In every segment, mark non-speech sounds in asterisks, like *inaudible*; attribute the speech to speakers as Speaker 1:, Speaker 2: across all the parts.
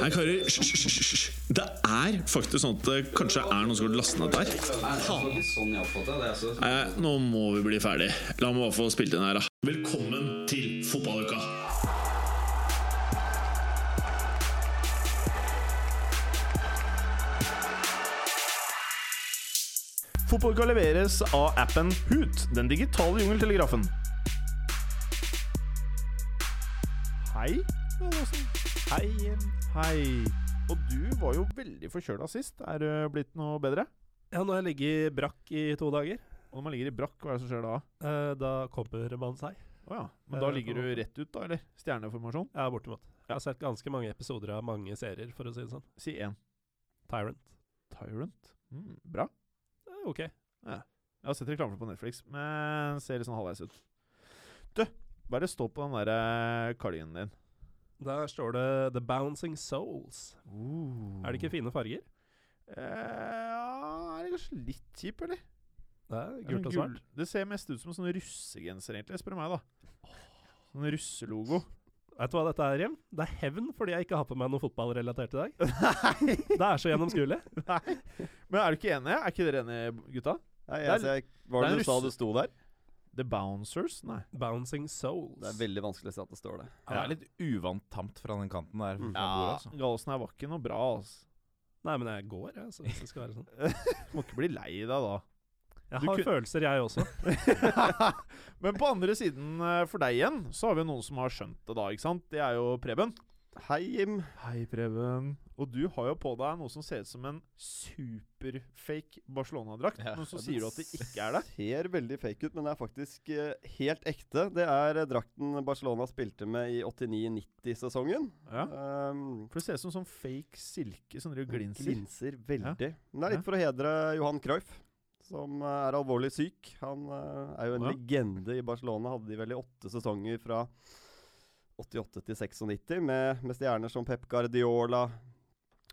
Speaker 1: Nei, karer, hysj, hysj, hysj, hysj. Det er faktisk sånn at det kanskje er noen som har lastet ned dette her. Nei, nå må vi bli ferdig. La meg bare få spilt inn her, da. Velkommen til fotballuka!
Speaker 2: Fotball kan leveres av appen Hoot, den digitale jungeltelegrafen. Hei, Johannessen. Hei igjen. Hei. Og du var jo veldig forkjøla sist. Er det blitt noe bedre?
Speaker 3: Ja, nå har jeg ligget brakk i to dager.
Speaker 2: Og når man ligger i brakk, hva er det som skjer da?
Speaker 3: Eh, da kommer man seg.
Speaker 2: Å ja. Men
Speaker 3: Eh,
Speaker 2: da ligger du rett ut, da? Eller? Stjerneformasjon?
Speaker 3: Ja, bortimot. Jeg har sett ganske mange episoder av mange serier, for å si det sånn.
Speaker 2: Si én.
Speaker 3: Tyrant. Hmm.
Speaker 2: Tyrant. Mm, bra.
Speaker 3: Eh, ok.
Speaker 2: Jeg har sett reklame for det på Netflix, men ser litt sånn halvveis ut. Du, hva er det står på den der eh, cardiganen din?
Speaker 3: Der står det The Bouncing Souls. Er det ikke fine farger?
Speaker 2: Eh, Ja, er det kanskje litt kjip, eller?
Speaker 3: Det er
Speaker 2: Det er
Speaker 3: gult
Speaker 2: sånn
Speaker 3: og svart.
Speaker 2: gull- Det ser mest ut som en sånn russegenser, egentlig, spør du meg, da. Sånn russelogo.
Speaker 3: Vet du hva dette er, Jim? Det er hevn fordi jeg ikke har på meg noe fotballrelatert i *laughs* dag.
Speaker 2: Nei!
Speaker 3: Det er så gjennomskuelig.
Speaker 2: Nei! Men er du ikke enig? Er ikke dere enige, gutta?
Speaker 4: Nei, altså,
Speaker 2: Det er
Speaker 4: jeg, ser- var
Speaker 2: det er
Speaker 4: det du sa
Speaker 2: russ-
Speaker 4: det sto der?
Speaker 2: The Bouncers? Nei.
Speaker 3: Bouncing Souls.
Speaker 4: Det er veldig vanskelig å se at det står der.
Speaker 5: Ja, det er litt uvant tamt fra den kanten der.
Speaker 3: Mm.
Speaker 5: Fra bordet, altså.
Speaker 2: Gallosen her var ikke noe bra, altså.
Speaker 3: Nei, men jeg går, jeg, så hvis det skal være sånn.
Speaker 2: Må ikke bli lei deg, da.
Speaker 3: Jeg
Speaker 2: Du
Speaker 3: har
Speaker 2: kun-
Speaker 3: følelser, jeg også.
Speaker 2: *laughs* Men på andre siden eh, for deg igjen, så har vi jo noen som har skjønt det, da. ikke sant? Det er jo Preben.
Speaker 4: Hei, Jim.
Speaker 2: Hei, Preben. Og du har jo på deg noe som ser ut som en superfake Barcelona-drakt.
Speaker 5: Ja.
Speaker 2: Men så sier du at det ikke er det.
Speaker 4: Ser veldig fake ut, men er faktisk eh, helt ekte. Det er eh, drakten Barcelona spilte med i 89-90-sesongen.
Speaker 2: *laughs* Ja.
Speaker 4: Um,
Speaker 2: For det ser ut som sånn fake silke som driver og glinser.
Speaker 4: glinser veldig. Men det er litt for å hedre Johan Cruyff, som eh, er alvorlig syk. Han eh, er jo en
Speaker 2: Ja.
Speaker 4: legende i Barcelona. Hadde de vel i åtte sesonger fra 88 til 96, med, med stjerner som Pep Guardiola,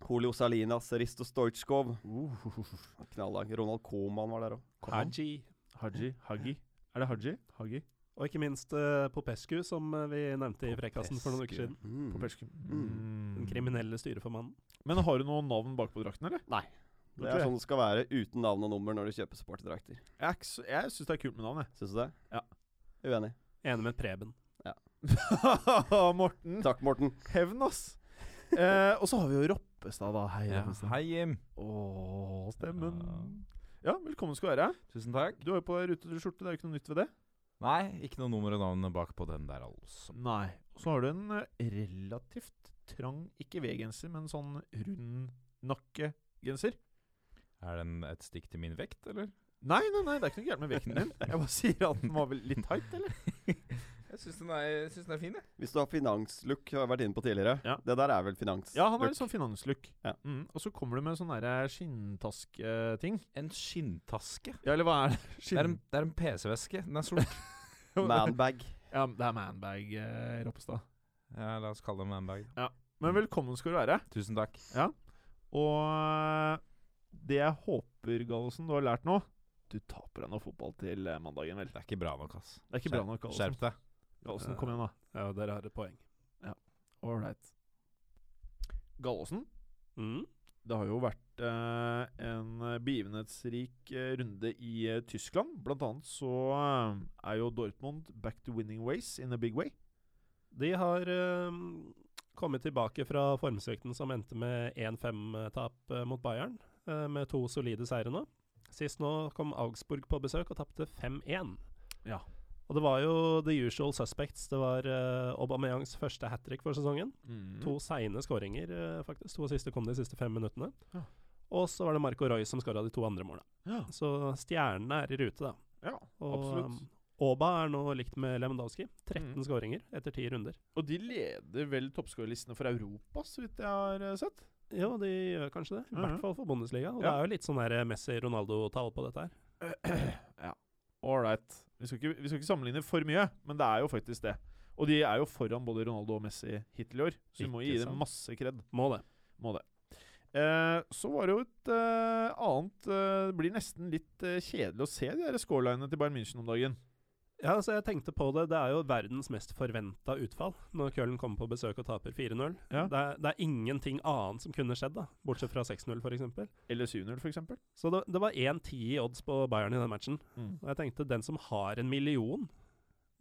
Speaker 4: Julio Salinas, Risto Stoichkov.
Speaker 2: Uh.
Speaker 4: Knalldag. Ronald Koeman var der òg.
Speaker 3: Haji.
Speaker 2: Haji. Hagi. Er det Haji? Hagi?
Speaker 3: Og ikke minst eh, Popescu, som eh, vi nevnte i Frekkasen for noen uker siden.
Speaker 2: På
Speaker 4: Mm.
Speaker 2: persken. Mm.
Speaker 3: Den kriminelle styreformannen.
Speaker 2: Men har du noe navn bakpå drakten, eller?
Speaker 4: Nei.
Speaker 2: Det
Speaker 4: Det er
Speaker 2: tror jeg.
Speaker 4: sånn det skal være uten navn og nummer når du kjøper supporterdrakter.
Speaker 2: Jeg, er ikke så- jeg syns det er kult med navn, jeg.
Speaker 4: Syns du det?
Speaker 2: Ja. *laughs*
Speaker 4: Uenig.
Speaker 3: Enig med Preben.
Speaker 2: Morten.
Speaker 4: Takk, Morten.
Speaker 2: Hevn, ass. Eh, og så har vi jo Roppestad, da. Hei,
Speaker 5: Ja.
Speaker 2: Roppestad.
Speaker 5: Hei, Jim.
Speaker 2: Å, stemmen. Ja, velkommen skal du være.
Speaker 5: Tusen takk.
Speaker 2: Du har jo på deg rutete skjorte, det er jo ikke noe nytt ved det.
Speaker 5: Nei, ikke noe nummer og navn bak på den der, altså.
Speaker 2: Nei. Og så har du en eh, relativt trang, ikke V-genser, men sånn rundnakkegenser.
Speaker 5: Er den et stikk til min vekt, eller?
Speaker 2: Nei, nei, nei, det er ikke noe gærent med vekten din. Jeg bare sier at den var vel litt tight, eller?
Speaker 5: Jeg syns den, er fin, jeg.
Speaker 4: Hvis du har finanslook, har jeg vært inne på tidligere.
Speaker 2: Ja.
Speaker 4: Det der er vel finans?
Speaker 2: *laughs* Ja, han har litt sånn finanslook.
Speaker 4: Ja.
Speaker 2: Mm, og så kommer du med sånn derre skinntaske-ting.
Speaker 5: En skinntaske.
Speaker 2: Ja, eller hva er det?
Speaker 5: Det er en, det er en PC-veske. Den er sort.
Speaker 4: Manbag.
Speaker 2: Ja, det er manbag, eh, Roppestad.
Speaker 5: *laughs* ja, la oss kalle det manbag. da.
Speaker 2: Men velkommen skal du være.
Speaker 5: Tusen takk.
Speaker 2: Og det jeg håper, Gallosen, du har lært nå Du taper deg noe fotball til eh, mandagen, vel?
Speaker 5: Det er ikke bra nok, ass.
Speaker 2: Det er ikke bra nok, Gallosen.
Speaker 5: Skjerp deg.
Speaker 2: Gallosen, kom igjen, da.
Speaker 3: Ja, dere har et poeng.
Speaker 2: All right. Gallosen,
Speaker 3: Mm.
Speaker 2: det har jo vært eh, en eh, begivenhetsrik eh, runde i eh, Tyskland. Blant annet så eh, er jo Dortmund back to winning ways in a big way.
Speaker 3: De har ehm, kommet tilbake fra formsvikten som endte med 1-5-tap eh, mot Bayern, eh, med to solide seire nå. Sist nå kom Augsburg på besøk og tapte 5-1.
Speaker 2: Ja.
Speaker 3: Og det var jo the usual suspects. Det var eh, Aubameyangs første hat trick for sesongen.
Speaker 2: Mm.
Speaker 3: To seine skåringer, eh, faktisk. To siste kom de siste fem minuttene.
Speaker 2: Ja.
Speaker 3: Og så var det Marco Roy som skåra de to andre måla.
Speaker 2: Ja,
Speaker 3: Så stjernene er i rute, da.
Speaker 2: ja
Speaker 3: Og
Speaker 2: absolutt.
Speaker 3: um, Auba er nå likt med Lewandowski. 13
Speaker 2: Mhm.
Speaker 3: skåringer etter 10 runder.
Speaker 2: Og de leder vel toppskårerlistene for Europa, så vidt jeg har eh, sett.
Speaker 3: Jo, de gjør kanskje det. I
Speaker 2: Mhm.
Speaker 3: hvert fall for Bundesliga. Og det
Speaker 2: Ja.
Speaker 3: er jo litt sånn der Messi-Ronaldo-tall på dette her.
Speaker 2: *clears throat* All right. Vi skal, ikke, vi skal ikke sammenligne for mye, men det er jo faktisk det. Og de er jo foran både Ronaldo og Messi hittil i år, så vi må
Speaker 3: Ikke
Speaker 2: gi dem
Speaker 3: sant.
Speaker 2: masse kred.
Speaker 3: Må det.
Speaker 2: Må det. Eh, så var det jo et eh, annet eh, Det blir nesten litt eh, kjedelig å se de der scorelinene til Bayern München om dagen.
Speaker 3: Ja, altså jeg tenkte på det. Det er jo verdens mest forventa utfall når Köln kommer på besøk og taper 4-0.
Speaker 2: Ja.
Speaker 3: Det, er- det er ingenting annet som kunne skjedd, da, bortsett fra 6-0 f.eks.
Speaker 2: Eller 7-0, for eksempel.
Speaker 3: Så det, det var 1-10 i odds på Bayern i den matchen.
Speaker 2: Mm.
Speaker 3: Og jeg tenkte, den som har en million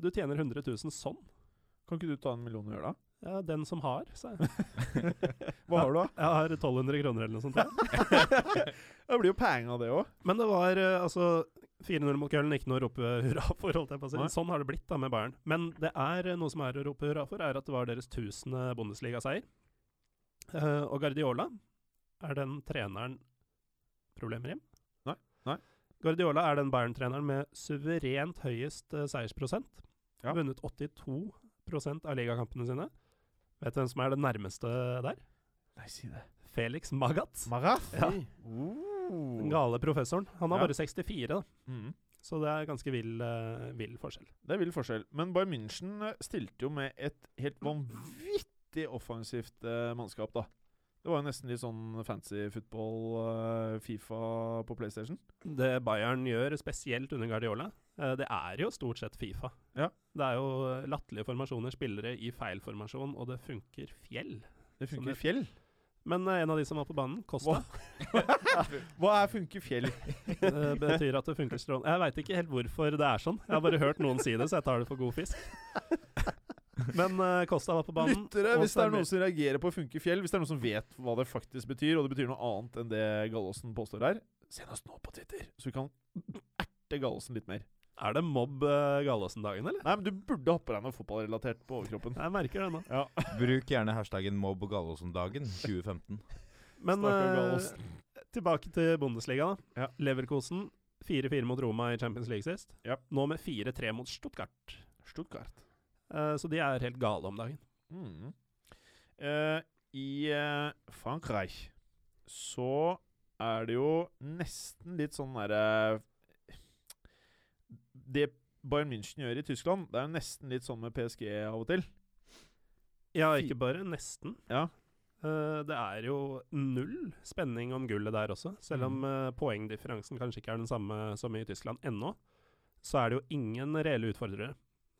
Speaker 3: Du tjener 100 000 sånn.
Speaker 2: Kan ikke du ta en million og gjøre det?
Speaker 3: Ja, den som har, sa *laughs* jeg.
Speaker 2: Hva har du, da?
Speaker 3: Jeg har 1200 kroner eller noe sånt. Ja.
Speaker 2: *laughs* Det blir jo penger av det òg.
Speaker 3: Men det var eh, altså 4-0 mot Köln, ikke noe å rope hurra for, holdt jeg på å si.
Speaker 2: Nei.
Speaker 3: Sånn har det blitt da med Bayern. Men det er eh, noe som er å rope hurra for, er at det var deres tusende Bundesliga-seier. Eh, og Guardiola er den treneren Problemer, Jim?
Speaker 2: Nei, nei.
Speaker 3: Guardiola er den Bayern-treneren med suverent høyest eh, seiersprosent.
Speaker 2: Ja.
Speaker 3: Vunnet 82 av ligakampene sine. Vet du hvem som er den nærmeste der?
Speaker 2: Nei, si det.
Speaker 3: Felix Magath.
Speaker 2: Maraf?
Speaker 3: Ja.
Speaker 2: Oh.
Speaker 3: Den gale professoren. Han har
Speaker 2: Ja.
Speaker 3: bare 64, da.
Speaker 2: Mm.
Speaker 3: Så det er ganske vill, eh, vill forskjell.
Speaker 2: Det er vill forskjell. Men Bayern München eh, stilte jo med et helt vanvittig offensivt eh, mannskap, da. Det var jo nesten litt sånn fancy football, eh, Fifa på PlayStation.
Speaker 3: Det Bayern gjør, spesielt under Guardiola, eh, det er jo stort sett Fifa.
Speaker 2: Ja.
Speaker 3: Det er jo eh, latterlige formasjoner, spillere i feil formasjon, og det funker fjell.
Speaker 2: Det
Speaker 3: Som
Speaker 2: funker
Speaker 3: det-
Speaker 2: i *laughs* fjell.
Speaker 3: Men eh, en av de som var på banen, Costa,
Speaker 2: Hva er funker fjell?
Speaker 3: *laughs* eh, betyr at det funker strålende. Jeg veit ikke helt hvorfor det er sånn. Jeg har bare hørt noen si det, så jeg tar det for god *laughs* fisk. Men eh, Costa var på banen.
Speaker 2: *laughs* Lyttere,
Speaker 3: og
Speaker 2: hvis det er
Speaker 3: server-
Speaker 2: noen som reagerer på funker fjell, hvis det er noen som vet hva det faktisk betyr, og det betyr noe annet enn det Gallosen påstår her, send oss nå på Twitter, så vi kan erte Gallosen litt mer.
Speaker 3: Er det mobb uh, Gallosen-dagen, eller?
Speaker 2: Nei, men du burde ha på deg noe fotballrelatert på overkroppen.
Speaker 3: Jeg merker det nå.
Speaker 2: Ja.
Speaker 5: Bruk gjerne hashtaggen mobb og
Speaker 2: *laughs*
Speaker 5: Gallosen-dagen 2015.
Speaker 3: Men
Speaker 2: Stakkar
Speaker 3: eh,
Speaker 2: Gallosen.
Speaker 3: tilbake til Bundesliga. da
Speaker 2: Ja.
Speaker 3: Leverkosen 4-4 mot Roma i Champions League sist.
Speaker 2: Ja.
Speaker 3: Nå med 4-3 mot Stuttgart.
Speaker 2: Stuttgart.
Speaker 3: Eh, så de er helt gale om dagen.
Speaker 2: Mm. Eh, I eh, Frankrike så er det jo nesten litt sånn derre Det Bayern München gjør i Tyskland, det er jo nesten litt sånn med PSG av og til.
Speaker 3: Ja,
Speaker 2: Fy-
Speaker 3: ikke bare nesten.
Speaker 2: Ja.
Speaker 3: Eh, det er jo null spenning om gullet der også. Selv om eh, poengdifferansen kanskje ikke er den samme som i Tyskland ennå, så er det jo ingen reelle utfordrere.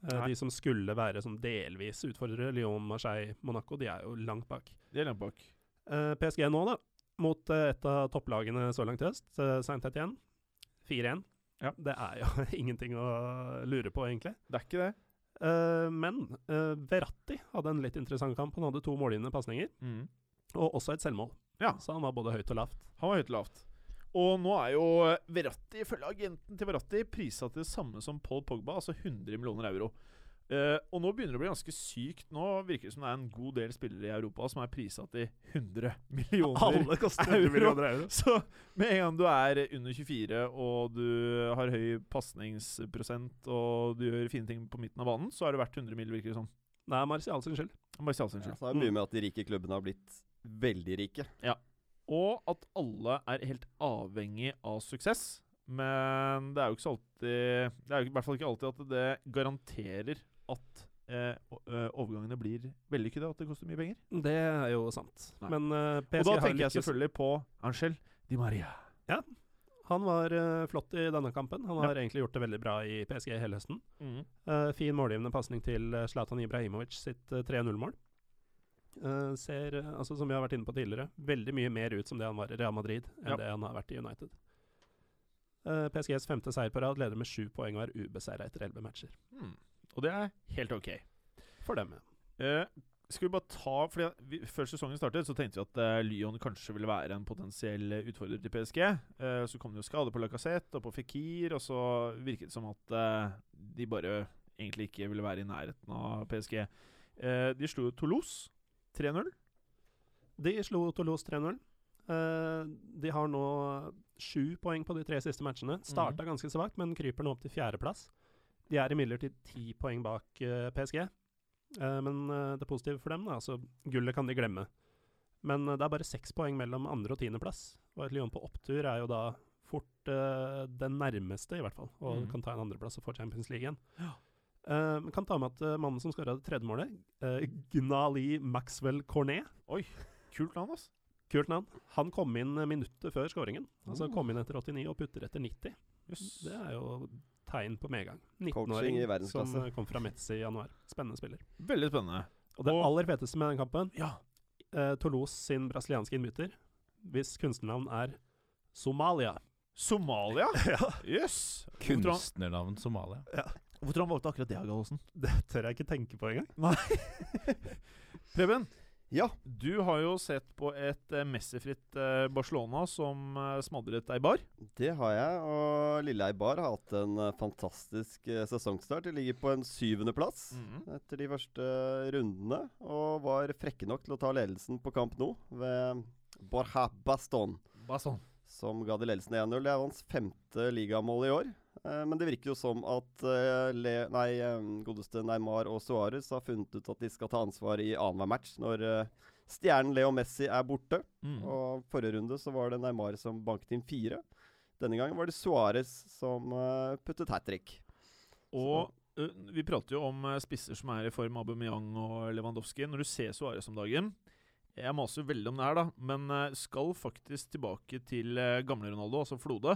Speaker 3: Eh,
Speaker 2: Nei.
Speaker 3: de som skulle være sånn delvis utfordrere, Lyon, Marseille, Monaco, de er jo langt bak.
Speaker 2: De er langt bak.
Speaker 3: Eh, PSG nå, da, mot eh, et av topplagene så langt i høst, uh, Saint-Étienne. 4-1.
Speaker 2: Ja.
Speaker 3: Det er jo *laughs* ingenting å lure på, egentlig.
Speaker 2: Det er ikke det.
Speaker 3: Eh, men eh, Verratti hadde en litt interessant kamp. Han hadde to målgivende pasninger,
Speaker 2: Mm.
Speaker 3: og også et selvmål.
Speaker 2: Ja.
Speaker 3: Så han var både høyt og lavt.
Speaker 2: Han var høyt og lavt. Og nå er jo Verratti, ifølge agenten til Verratti, prisa til det samme som Paul Pogba, altså 100 millioner euro. Eh, og nå begynner det å bli ganske sykt. Nå virker det som det er en god del spillere i Europa som er prisa til 100 millioner.
Speaker 3: Alle koster
Speaker 2: euro.
Speaker 3: 100 millioner euro.
Speaker 2: *laughs* Så med en gang du er under 24 og du har høy pasningsprosent og du gjør fine ting på midten av banen, så er det verdt 100 mill., virker det som.
Speaker 3: *laughs* Det er Martial sin skyld.
Speaker 2: Bare si all sin
Speaker 4: Ja,
Speaker 2: skyld.
Speaker 4: så er det mye med at de rike klubbene har blitt veldig rike.
Speaker 2: Og at alle er helt avhengig av suksess. Men det er jo ikke så alltid Det er jo i hvert fall ikke alltid at det garanterer at eh, o- eh, overgangene blir vellykkede, at det koster mye penger.
Speaker 3: Det er jo sant.
Speaker 2: Nei.
Speaker 3: Men eh, PSG
Speaker 2: Og da
Speaker 3: har
Speaker 2: tenker jeg
Speaker 3: lykkes.
Speaker 2: selvfølgelig på Angel Di Maria.
Speaker 3: Han var eh, flott i denne kampen. Han har egentlig gjort det veldig bra i PSG hele høsten. Eh, fin målgivende pasning til eh, Zlatan Ibrahimovic sitt eh, 3-0-mål. Eh, ser, eh, altså som vi har vært inne på tidligere, veldig mye mer ut som det han var i Real Madrid, enn
Speaker 2: Ja.
Speaker 3: det han har vært i United. Eh, PSGs femte seier på rad leder med sju poeng og er ubeseira etter elleve matcher.
Speaker 2: Mm. Og det er helt ok.
Speaker 3: For dem, ja.
Speaker 2: Eh, skal vi bare ta fordi at vi, Før sesongen startet, så tenkte vi at eh, Lyon kanskje ville være en potensiell eh, utfordrer til PSG. Eh, så kom det jo skade på Lacassette og på Fikir, og så virket det som at eh, de bare egentlig ikke ville være i nærheten av PSG. Eh, de slo jo Toulouse 3-0.
Speaker 3: De slo Toulouse 3-0. Eh, de har nå sju poeng på de tre siste matchene. Starta ganske svakt, men kryper nå opp til fjerdeplass. De er imidlertid ti poeng bak eh, PSG. Eh, men eh, det positive for dem, da, altså gullet kan de glemme. Men eh, det er bare seks poeng mellom andre- og tiendeplass. Og et Lyon på opptur er jo da fort eh, den nærmeste, i hvert fall. Og
Speaker 2: Mhm.
Speaker 3: kan ta en andreplass og få Champions League igjen. Eh, men kan ta med at eh, mannen som skåra det tredje målet, eh, Gnali Maxwell Cornet,
Speaker 2: Kult navn, altså.
Speaker 3: Kult navn. Han kom inn eh, minuttet før skåringen. Altså
Speaker 2: Oh.
Speaker 3: kom inn etter 89 og putter etter 90.
Speaker 2: Jøss.
Speaker 3: Det er jo tegn på medgang.
Speaker 4: Coaching i
Speaker 3: 19-åring som
Speaker 4: verdensklasse.
Speaker 3: eh, kom fra Metz i januar. Spennende spiller.
Speaker 2: Veldig spennende.
Speaker 3: Og det
Speaker 2: Og-
Speaker 3: aller feteste med den kampen eh, Toulouse sin brasilianske innbytter, hvis kunstnernavn er *laughs* Somalia.
Speaker 2: *laughs* Somalia? Jøss! Hvorfor tror han- Eh,
Speaker 5: Kunstnernavn Somalia.
Speaker 2: Hvorfor tror han valgte akkurat det, Gallosen?
Speaker 3: Det tør jeg ikke tenke på engang.
Speaker 2: *laughs* Preben,
Speaker 4: Ja,
Speaker 2: du har jo sett på et eh, messefritt eh, Barcelona som eh, smadret ei bar.
Speaker 4: det har jeg. Og Lilleheie Bar har hatt en eh, fantastisk eh, sesongstart. De ligger på en syvendeplass. etter de første eh, rundene, og var frekke nok til å ta ledelsen på kamp nå ved Borja Baston,
Speaker 2: Bare sånn.
Speaker 4: som ga de ledelsen 1-0. Det er hans femte ligamål i år. Eh, Men det virker jo som at eh, Le nei, eh, godeste Neymar og Suárez har funnet ut at de skal ta ansvar i annenhver match når eh, stjernen Leo Messi er borte.
Speaker 2: Mm.
Speaker 4: Og forrige runde så var det Neymar som banket inn fire. Denne gangen var det Suárez som eh, puttet hat trick.
Speaker 2: Og eh, vi prater jo om eh, spisser som er i form av Aubameyang og Lewandowski. Når du ser Suárez om dagen Jeg maser jo veldig om det her, da, men eh, skal faktisk tilbake til eh, gamle Ronaldo, altså Flode,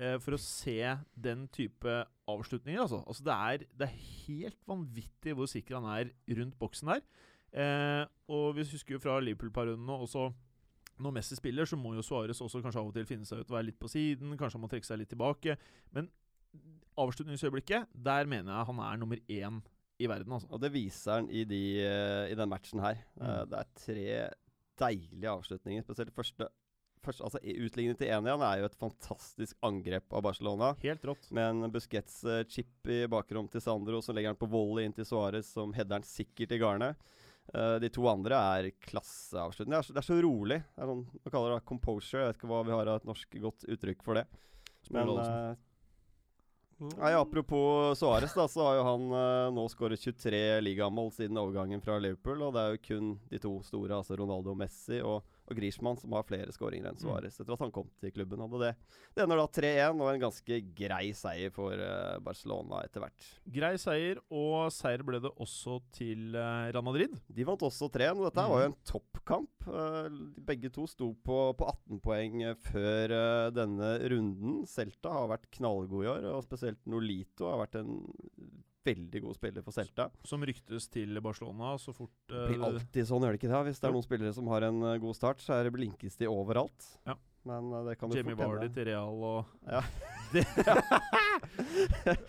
Speaker 2: eh, for å se den type avslutninger, altså. altså det, er, det er helt vanvittig hvor sikker han er rundt boksen der. Eh, og vi husker jo fra Liverpool-periodene også når Messi spiller, så må jo Suárez også kanskje av og til finne seg ut og være litt på siden. Kanskje han må trekke seg litt tilbake. Men avslutningsøyeblikket, der mener jeg han er nummer én i verden, altså.
Speaker 4: Og det viser han i, de, eh, i den matchen her. Eh,
Speaker 2: Mm.
Speaker 4: Det er tre deilige avslutninger. Spesielt første, første altså i- Utlignet til 1-1 er jo et fantastisk angrep av Barcelona.
Speaker 2: Helt rått.
Speaker 4: Med en Busquets eh, chip i bakrom til Sandro, så legger han på volley inn til Suárez, som header han sikkert i garnet. Eh, de to andre er klasseavslutninger. Det er så, det er så rolig. Det er sånn, Man kaller det composure. Jeg vet ikke hva vi har av et norsk godt uttrykk for det. Men
Speaker 2: Olsen.
Speaker 4: eh, Mm. Nei, Apropos Suárez, da, så har jo han eh, nå skåret 23 ligamål siden overgangen fra Liverpool. Og det er jo kun de to store, altså Ronaldo og Messi og, og Griezmann, som har flere skåringer enn Suárez etter at han kom til klubben. Hadde det. det ender da 3-1 og en ganske grei seier for eh, Barcelona etter hvert.
Speaker 2: Grei seier, og seier ble det også til eh, Real Madrid.
Speaker 4: De vant også 3-1, og dette her var jo en toppkamp. Eh, Begge to sto på, på 18 poeng eh, før eh, denne runden. Celta har vært knallgod i år, og spesielt Nolito har vært en veldig god spiller for Celta.
Speaker 2: Som ryktes til Barcelona så fort
Speaker 4: Det
Speaker 2: eh,
Speaker 4: blir alltid sånn, gjør det ikke det? Hvis det er
Speaker 2: Jo.
Speaker 4: noen spillere som har en eh, god start, så er det blinkes de overalt.
Speaker 2: Ja.
Speaker 4: Men eh, det kan jo
Speaker 2: Jamie
Speaker 4: fort *laughs*
Speaker 2: Vardy
Speaker 4: hende.
Speaker 2: til Real og
Speaker 4: Ja.
Speaker 2: Det, *laughs*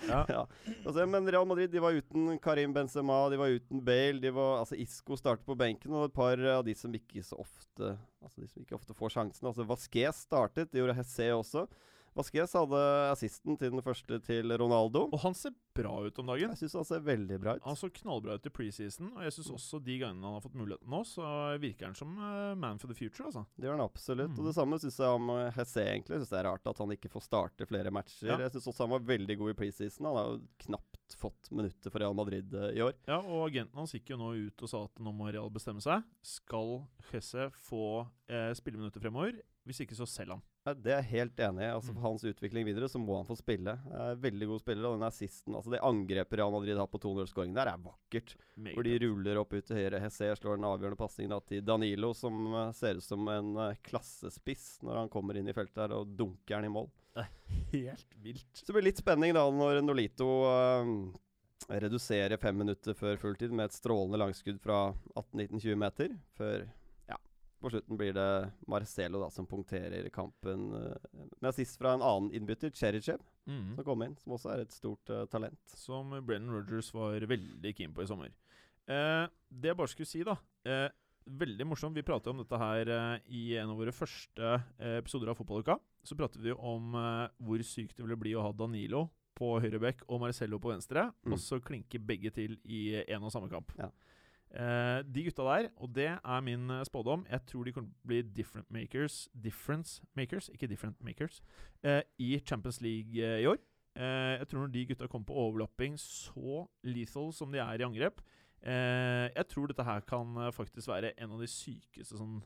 Speaker 4: Ja. Altså, men Real Madrid de var uten Karim Benzema, de var uten Bale. De var, altså, Isco starter på benken, og et par av de som ikke så ofte Altså de som ikke ofte får sjansen. Altså, Vasquez startet, det gjorde Hesse også. Vasquez hadde assisten til den første til Ronaldo.
Speaker 2: og han ser bra ut om dagen.
Speaker 4: Jeg syns han ser veldig bra ut.
Speaker 2: Han så knallbra ut i preseason, og jeg syns også de gangene han har fått muligheten nå, så virker han som eh, man for the future, altså.
Speaker 4: Det gjør han absolutt.
Speaker 2: Mm.
Speaker 4: Og det samme syns jeg om eh, Hesse, egentlig. Jeg syns det er rart at han ikke får starte flere matcher.
Speaker 2: Ja.
Speaker 4: Jeg syns også han var veldig god i preseason. Han har jo knapt fått minutter for Real Madrid eh, i år.
Speaker 2: Ja, og agenten hans gikk jo nå ut og sa at nå må Real bestemme seg. Skal Jesse få eh, spilleminutter fremover? Hvis ikke, så selg han.
Speaker 4: Ja, Det er jeg helt enig i. Altså,
Speaker 2: Mm.
Speaker 4: for hans utvikling videre så må han få spille. Eh, veldig god spiller, og den assisten altså Det angrepet Real Madrid har på 2-0-skåringen der, er vakkert.
Speaker 2: Meget
Speaker 4: Hvor de
Speaker 2: bra.
Speaker 4: ruller opp ut til høyre. Hesse slår en avgjørende pasning da til Danilo, som eh, ser ut som en eh, klassespiss når han kommer inn i feltet her og dunker den i mål.
Speaker 2: Helt vilt.
Speaker 4: Så det blir litt spenning da når Nolito eh, reduserer fem minutter før fulltid med et strålende langskudd fra 18-19-20 meter. Før ja, på slutten blir det Marcelo da som punkterer kampen eh, med assist fra en annen innbytter, Cherichev,
Speaker 2: Mhm.
Speaker 4: som kom inn, som også er et stort eh, talent.
Speaker 2: Som Brennan Rogers var veldig keen på i sommer. Eh, det jeg bare skulle si, da eh, Veldig morsomt. Vi pratet om dette her eh, i en av våre første eh, episoder av Fotballuka. Så pratet vi om eh, hvor sykt det ville bli å ha Danilo på høyre bekk og Marcello på venstre,
Speaker 4: Mm.
Speaker 2: og så klinke begge til i én og samme kamp.
Speaker 4: Ja.
Speaker 2: Eh, de gutta der, og det er min eh, spådom Jeg tror de kommer til å bli different makers Difference makers, ikke different makers eh, i Champions League eh, i år. Eh, jeg tror når de gutta kommer på overlapping så lethal som de er i angrep eh, Jeg tror dette her kan eh, faktisk være en av de sykeste sånn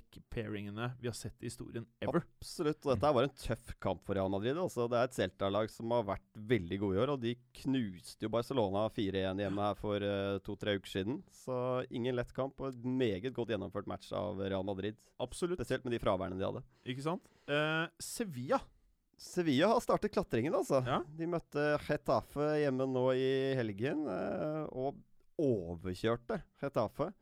Speaker 2: back-pairingene vi har sett i historien ever.
Speaker 4: Absolutt. Og dette her var en tøff kamp for Real Madrid. Altså, det er et Celta-lag som har vært veldig gode i år, og de knuste jo Barcelona 4-1 hjemme her for eh, to-tre uker siden. Så ingen lett kamp, og et meget godt gjennomført match av Real Madrid.
Speaker 2: Absolutt.
Speaker 4: Spesielt med de fraværene de hadde.
Speaker 2: Ikke sant? Eh, Sevilla
Speaker 4: Sevilla har startet klatringen, altså.
Speaker 2: Ja.
Speaker 4: De møtte Getafe hjemme nå i helgen, eh, og overkjørte Getafe.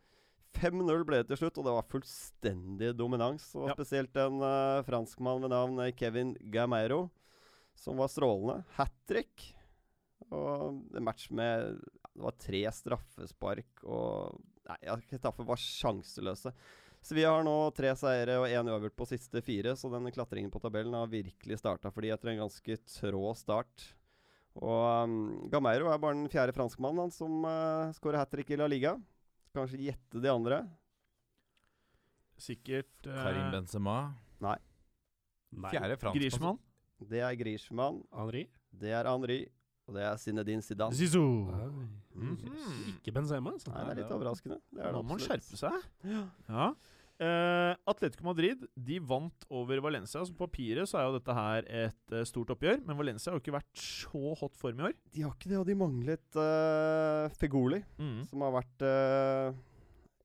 Speaker 4: 5-0 ble det til slutt, og det var fullstendig dominans. Og
Speaker 2: Ja.
Speaker 4: Spesielt en eh, franskmann ved navn eh, Kevin Gameiro, som var strålende. Hat trick. Og en match med Det var tre straffespark og Nei, ja, Getafe var sjanseløse. Så vi har nå tre seire og én uavgjort på siste fire, så den klatringen på tabellen har virkelig starta for de etter en ganske trå start. Og um, Gameiro er bare den fjerde franskmannen han som uh, skårer hat trick i La Liga. Kanskje gjette de andre.
Speaker 2: Sikkert eh,
Speaker 5: Karim Benzema.
Speaker 3: Nei.
Speaker 5: Fjerde franskmann.
Speaker 2: Griezmann.
Speaker 4: Det er Griezmann,
Speaker 3: Henri.
Speaker 4: det er Henri, og det er Zinedine Zidane.
Speaker 2: Zizou.
Speaker 4: Mm.
Speaker 2: Mhm.
Speaker 3: Ikke Benzema, altså.
Speaker 4: Nei, det er litt
Speaker 5: Ja.
Speaker 4: overraskende. Det er det
Speaker 2: Nå må han
Speaker 4: absolutt.
Speaker 2: skjerpe seg. Ja. Eh, Atletico Madrid de vant over Valencia. Så på papiret så er jo dette her et eh, stort oppgjør, men Valencia har jo ikke vært så hot form i år.
Speaker 4: De har ikke det, og de manglet uh, Figoli.
Speaker 2: Mm.
Speaker 4: som har vært eh,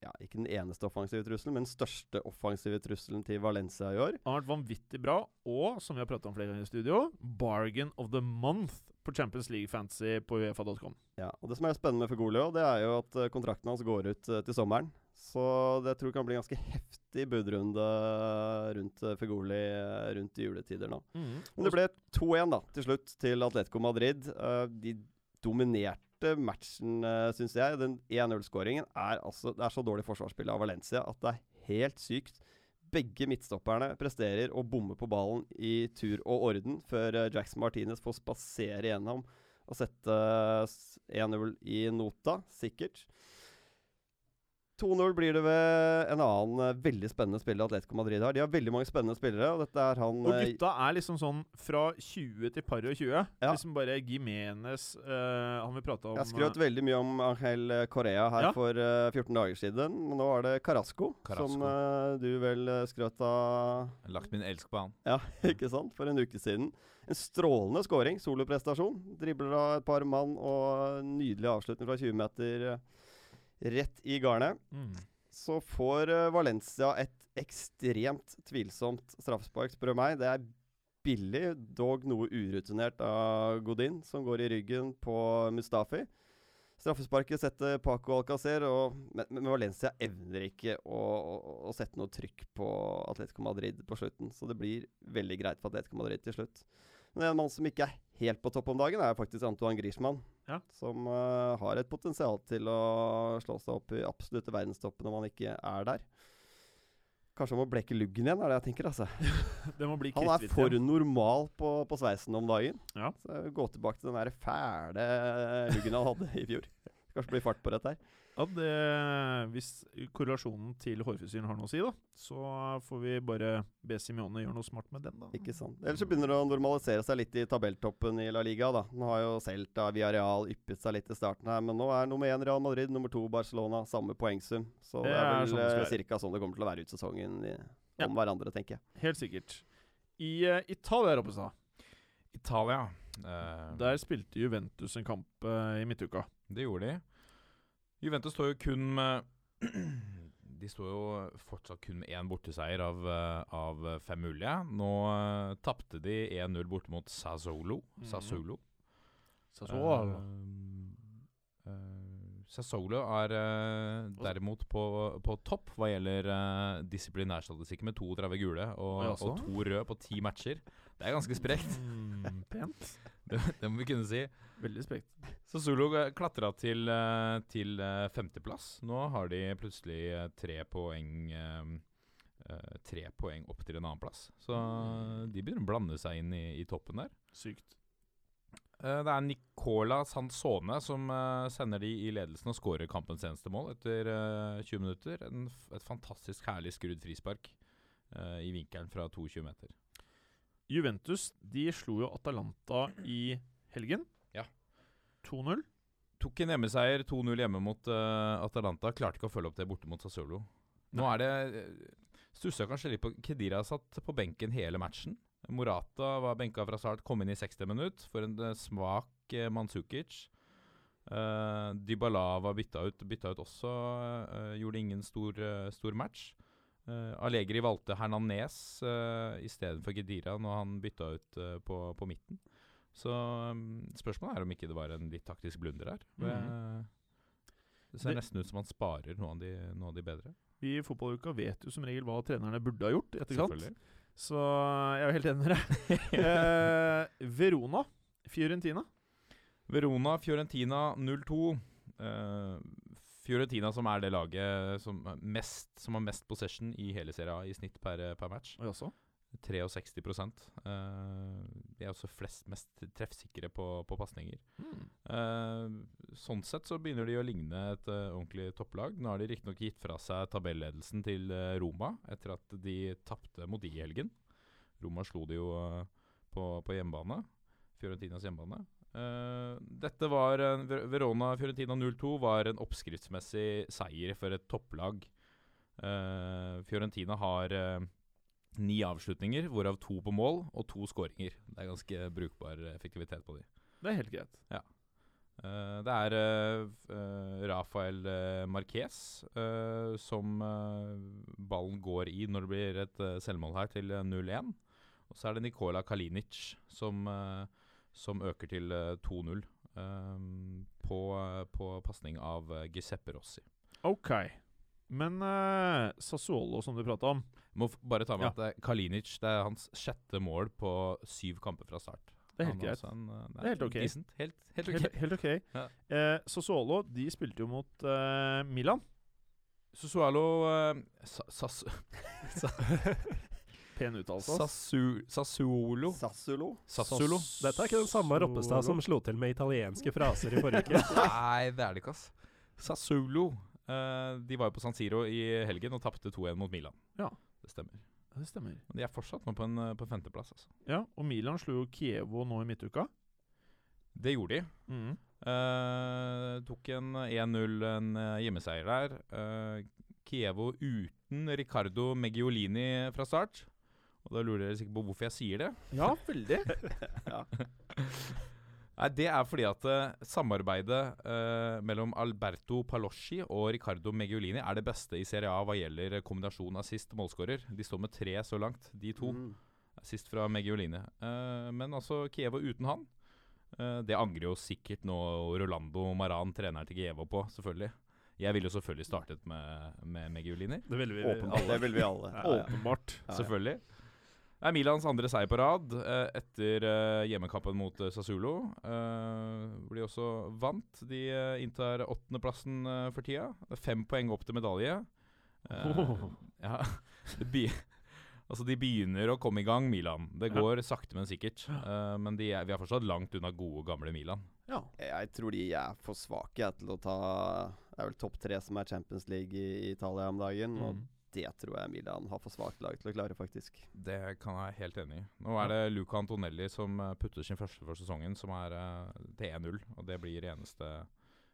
Speaker 4: ja, ikke den eneste offensive trusselen, men den største offensive trusselen til Valencia i år.
Speaker 2: har vært vanvittig bra, og som vi har pratet om flere ganger i studio, bargain of the month på Champions League Fantasy på uefa.com.
Speaker 4: Ja, og Det som er spennende for Golio, det er jo at eh, kontrakten hans går ut eh, til sommeren. Så det tror jeg kan bli en ganske heftig budrunde rundt eh, Fegoli eh, rundt i juletider nå. Men det ble 2-1 da, til slutt til Atletico Madrid. Eh, de dominerte matchen, uh, syns jeg. Den 1-0-skåringen er altså Det er så dårlig forsvarsspill av Valencia at det er helt sykt. Begge midtstopperne presterer å bomme på ballen i tur og orden før eh, Jackson Martinez får spasere gjennom og sette eh, s- 1-0 i nota, sikkert. 2-0 blir det ved en annen eh, veldig spennende spiller Atletico Madrid har. De har veldig mange spennende spillere, og dette er han
Speaker 2: Og
Speaker 4: eh,
Speaker 2: gutta er liksom sånn fra 20 til par og 20.
Speaker 4: Ja.
Speaker 2: Liksom bare Gimenez eh, Han vi prata om
Speaker 4: Jeg skrøt veldig mye om Angel Correa her
Speaker 2: Ja.
Speaker 4: for eh, 14 dager siden. Men nå er det Carasco, som
Speaker 5: Carrasco.
Speaker 4: eh, du vel eh, skrøt av *laughs*
Speaker 5: Jeg har Lagt min elsk på han.
Speaker 4: ikke sant, for en uke siden. En strålende scoring, soloprestasjon. Dribler av et par mann og nydelig avslutning fra 20 meter eh, rett i garnet.
Speaker 2: Mm.
Speaker 4: Så får eh, Valencia et ekstremt tvilsomt straffespark, spør du meg. Det er billig, dog noe urutinert av Godin, som går i ryggen på Mustafi. Straffesparket setter Paco Alcacer, og, men, men Valencia evner ikke å, å, å sette noe trykk på Atletico Madrid på slutten. Så det blir veldig greit for Atletico Madrid til slutt. Men en mann som ikke er helt på topp om dagen, er faktisk Antoine Griezmann.
Speaker 2: Ja.
Speaker 4: Som eh, har et potensial til å slå seg opp i absolutte verdenstoppen om han ikke er der. Kanskje han må bleke luggen igjen, er det jeg tenker. altså.
Speaker 2: eh, Det må bli
Speaker 4: Han er
Speaker 2: kritthvitt.
Speaker 4: for
Speaker 2: igjen.
Speaker 4: normal på, på sveisen om dagen.
Speaker 2: Ja.
Speaker 4: Så Gå tilbake til den der fæle luggen han hadde i fjor. Kanskje blir fart på dette her.
Speaker 2: Ja, det, hvis korrelasjonen til hårfrisyren har noe å si, da, så får vi bare be Simione gjøre noe smart med den, da.
Speaker 4: Ikke sant. Ellers så begynner det å normalisere seg litt i tabelltoppen i La Liga. da. Nå har jo Celta Villarreal yppet seg litt i starten her, men nå er nummer én Real Madrid, nummer to Barcelona, samme poengsum. Så det
Speaker 2: Det
Speaker 4: er
Speaker 2: er
Speaker 4: vel
Speaker 2: sånn det skal
Speaker 4: eh,
Speaker 2: være.
Speaker 4: cirka sånn det kommer til å være ut sesongen i,
Speaker 2: Ja.
Speaker 4: om hverandre, tenker jeg.
Speaker 2: Helt sikkert. I eh, Italia, Roppestad,
Speaker 5: Italia. Eh,
Speaker 2: der spilte Juventus en kamp eh, i midtuka.
Speaker 5: Det gjorde de. Juventus står jo kun med *clears throat* De står jo fortsatt kun med én borteseier av, eh, av fem mulige. Nå uh, tapte de 1-0 borte mot Sassolo.
Speaker 2: Mhm.
Speaker 5: Sassolo.
Speaker 2: Sassuolo.
Speaker 5: Eh, eh, Sassolo er eh, derimot på, på topp hva gjelder uh, disiplinærstatistikk, med 32 gule og,
Speaker 2: Oi, altså.
Speaker 5: og to røde på ti matcher. Det er ganske sprekt,
Speaker 2: Mm, pent.
Speaker 5: det, *laughs* det må vi kunne si.
Speaker 2: Veldig sprekt.
Speaker 5: Så Solo klatra til, eh, til eh, femteplass. Nå har de plutselig eh, tre poeng eh, eh, Tre poeng opp til en annenplass. Så de begynner å blande seg inn i, i toppen der.
Speaker 2: Sykt.
Speaker 5: Eh, Det er Nicola Sansone som eh, sender de i ledelsen og skårer kampens eneste mål etter eh, 20 minutter. En, f- et fantastisk herlig skrudd frispark eh, i vinkelen fra 22 meter.
Speaker 2: Juventus de slo jo Atalanta i helgen.
Speaker 5: Ja.
Speaker 2: 2-0.
Speaker 5: Tok en hjemmeseier 2-0 hjemme mot eh, Atalanta. Klarte ikke å følge opp det borte mot Sassolo. Nå er det uh, Stussa kanskje litt på Kedira satt på benken hele matchen. Morata var benka fra start, kom inn i 60 minutt for en eh, svak eh, Mandzukic. Eh, Dybala var bytta ut, bytta ut også. eh, gjorde ingen stor, eh, stor match. Eh, Allegri valgte Hernanes uh, istedenfor Gedira når han bytta ut eh, på, på midten. Så mm, spørsmålet er om ikke det var en litt taktisk blunder her.
Speaker 2: Mhm.
Speaker 5: Eh, det ser
Speaker 2: Det-
Speaker 5: nesten ut som han sparer noe av de, noe av de bedre.
Speaker 2: Vi i fotballuka vet jo som regel hva trenerne burde ha gjort. i etterkant.
Speaker 5: Selvfølgelig.
Speaker 2: Så eh, jeg er jo helt enig med deg.
Speaker 5: *laughs*
Speaker 2: eh, Verona, Fiorentina.
Speaker 5: Verona, Fiorentina 0-2. Eh, Fiorentina som er det laget som, er mest, som har mest possession i hele Serie A i snitt per, eh, per match.
Speaker 2: Og jeg også.
Speaker 5: 63 uh, De er også flest mest treffsikre på, på pasninger.
Speaker 2: Mm,
Speaker 5: Eh, sånn sett så begynner de å ligne et eh, ordentlig topplag. Nå har de riktignok gitt fra seg tabelledelsen til eh, Roma etter at de tapte mot de i helgen. Roma slo de jo eh, på, på hjemmebane. Fiorentinas hjemmebane. Eh, dette var en- Ver- Verona Fiorentina 0-2 var en oppskriftsmessig seier for et topplag. Eh, Fiorentina har eh, ni avslutninger, hvorav to på mål og to skåringer. Det er ganske brukbar effektivitet på de.
Speaker 2: Det er helt greit.
Speaker 5: Eh, det er eh, f- eh, Rafael eh, Marquez eh, som eh, ballen går i når det blir et eh, selvmål her, til eh, 0-1. Og så er det Nikola Kalinic som, eh, som øker til eh, 2-0 eh, på, eh, på pasning av eh, Giuseppe Rossi.
Speaker 2: Ok. Men eh, Sassuolo, som du prata om
Speaker 5: Må f bare ta med
Speaker 2: Ja.
Speaker 5: at det er Kalinic det er hans sjette mål på syv kamper fra start.
Speaker 2: Det er helt
Speaker 5: Han
Speaker 2: greit.
Speaker 5: også En, eh, det, er
Speaker 2: helt ok.
Speaker 5: Decent. Helt, helt ok.
Speaker 2: Helt, helt ok. Eh, Sassuolo de spilte jo mot eh, Milan.
Speaker 5: Sassuolo eh, Sa- Sas- *laughs*
Speaker 2: Pen uttalelse. ass.
Speaker 5: Sassu, Sassuolo
Speaker 4: Sassulo.
Speaker 5: Sassuolo?
Speaker 3: Dette er ikke den samme Roppestad som slo til med italienske fraser i *laughs* forrige uke.
Speaker 5: Nei, det er det ikke, ass. Sassuolo. eh, de var jo på San Siro i helgen og tapte 2-1 mot Milan.
Speaker 2: Ja.
Speaker 5: Det stemmer.
Speaker 2: Det stemmer.
Speaker 5: Men de er fortsatt nå på, en, eh, på femteplass, altså.
Speaker 2: Ja, og Milan slo jo Kievo nå i midtuka.
Speaker 5: Det gjorde de.
Speaker 2: Mhm.
Speaker 5: Eh, tok en 1-0, en eh, hjemmeseier der. Eh, Kievo uten Ricardo Meggiolini fra start. Og da lurer dere sikkert på hvorfor jeg sier det.
Speaker 2: Ja, *laughs* veldig.
Speaker 5: Nei, Det er fordi at eh, samarbeidet eh, mellom Alberto Palosci og Ricardo Meggiolini er det beste i Serie A hva gjelder kombinasjon assist og målskårer. De står med tre så langt, de to.
Speaker 4: Mm.
Speaker 5: Sist fra Meggiolini. Eh, men altså, Kievo uten han eh, Det angrer jo sikkert nå Rolando Maran, treneren til Kievo, på, selvfølgelig. Jeg ville jo selvfølgelig startet med, med Meggiolini.
Speaker 2: Det ville vi
Speaker 4: Åpenbart. Det vil vi alle. Ja, ja.
Speaker 2: Åpenbart.
Speaker 4: Ja, ja.
Speaker 5: Selvfølgelig. Det er Milans andre seier på rad eh, etter eh, hjemmekampen mot eh, Sassuolo. Eh, hvor de også vant. De eh, inntar åttendeplassen eh, for tida. Det er Fem poeng opp til medalje. Eh,
Speaker 2: Oh.
Speaker 5: *laughs* ja, det be altså, de begynner å komme i gang, Milan. Det
Speaker 2: Ja.
Speaker 5: går sakte, men sikkert. Eh, men de er, vi er fortsatt langt unna gode, gamle Milan.
Speaker 2: Ja.
Speaker 4: Jeg tror de er for svake jeg, til å ta Det er vel topp tre som er Champions League i Italia om dagen. Og
Speaker 2: Mm.
Speaker 4: det tror jeg Milan har for svakt lag til å klare, faktisk.
Speaker 5: Det kan jeg være helt enig i. Nå er det Luca Antonelli som eh, putter sin første for sesongen, som er eh, til 1-0. Og det blir eneste,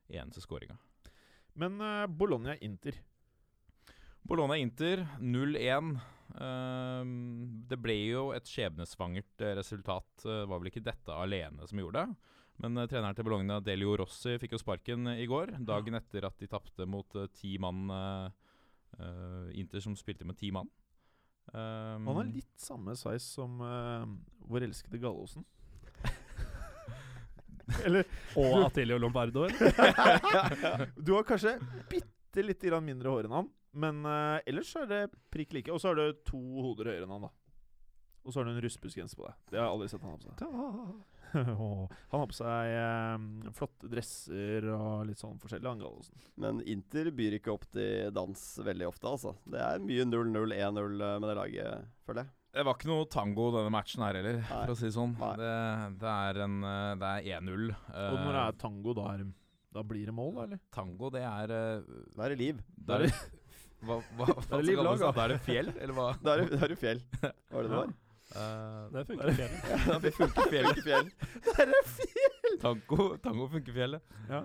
Speaker 5: eneste skåringa.
Speaker 2: Men eh, Bologna-Inter.
Speaker 5: Bologna-Inter 0-1. Ehm, det ble jo et skjebnesvangert eh, resultat. Det var vel ikke dette alene som gjorde det. Men eh, treneren til Bologna, Delio Rossi, fikk jo sparken eh, i går. Dagen etter at de tapte mot eh, ti mann eh, eh, Inter som spilte med ti mann. Ehm,
Speaker 2: Han er litt samme size som eh, vår elskede Gallosen. Eller
Speaker 3: Og Atilio Lombardo. *laughs* eller?
Speaker 2: Du har kanskje bitte lite grann mindre hår enn han, men eh, ellers så er det prikk like. Og så har du to hoder høyere enn han, da. Og så har du en russbussgenser på deg. Det har jeg aldri sett han ha på seg. *laughs* Åh, han har på seg eh, flotte dresser og litt sånn forskjellig, han Gallosen.
Speaker 4: Men Inter byr ikke opp til dans veldig ofte, altså. Det er mye 0-0-1-0 med det laget, føler jeg.
Speaker 5: Det var ikke noe tango denne matchen her heller,
Speaker 4: Nei.
Speaker 5: for å si det sånn.
Speaker 4: Nei.
Speaker 5: Det, det er en, eh, det er 1-0.
Speaker 2: Og når det
Speaker 5: Eh,
Speaker 2: er tango, da, er, da blir det mål, da, eller?
Speaker 5: tango, det er eh,
Speaker 4: Da er det liv.
Speaker 5: Da er det *laughs* Hva, hva, hva
Speaker 2: er liv
Speaker 5: skal man
Speaker 2: laga.
Speaker 5: si? Da er det fjell, eller hva?
Speaker 4: Da er det, da er det fjell. Var det det
Speaker 2: *laughs*
Speaker 4: var?
Speaker 5: Uh,
Speaker 3: Det funker bedre.
Speaker 4: Ja, det funker *laughs* fjell. Funker fjell.
Speaker 5: tango, tango funker fjellet.
Speaker 2: Ja.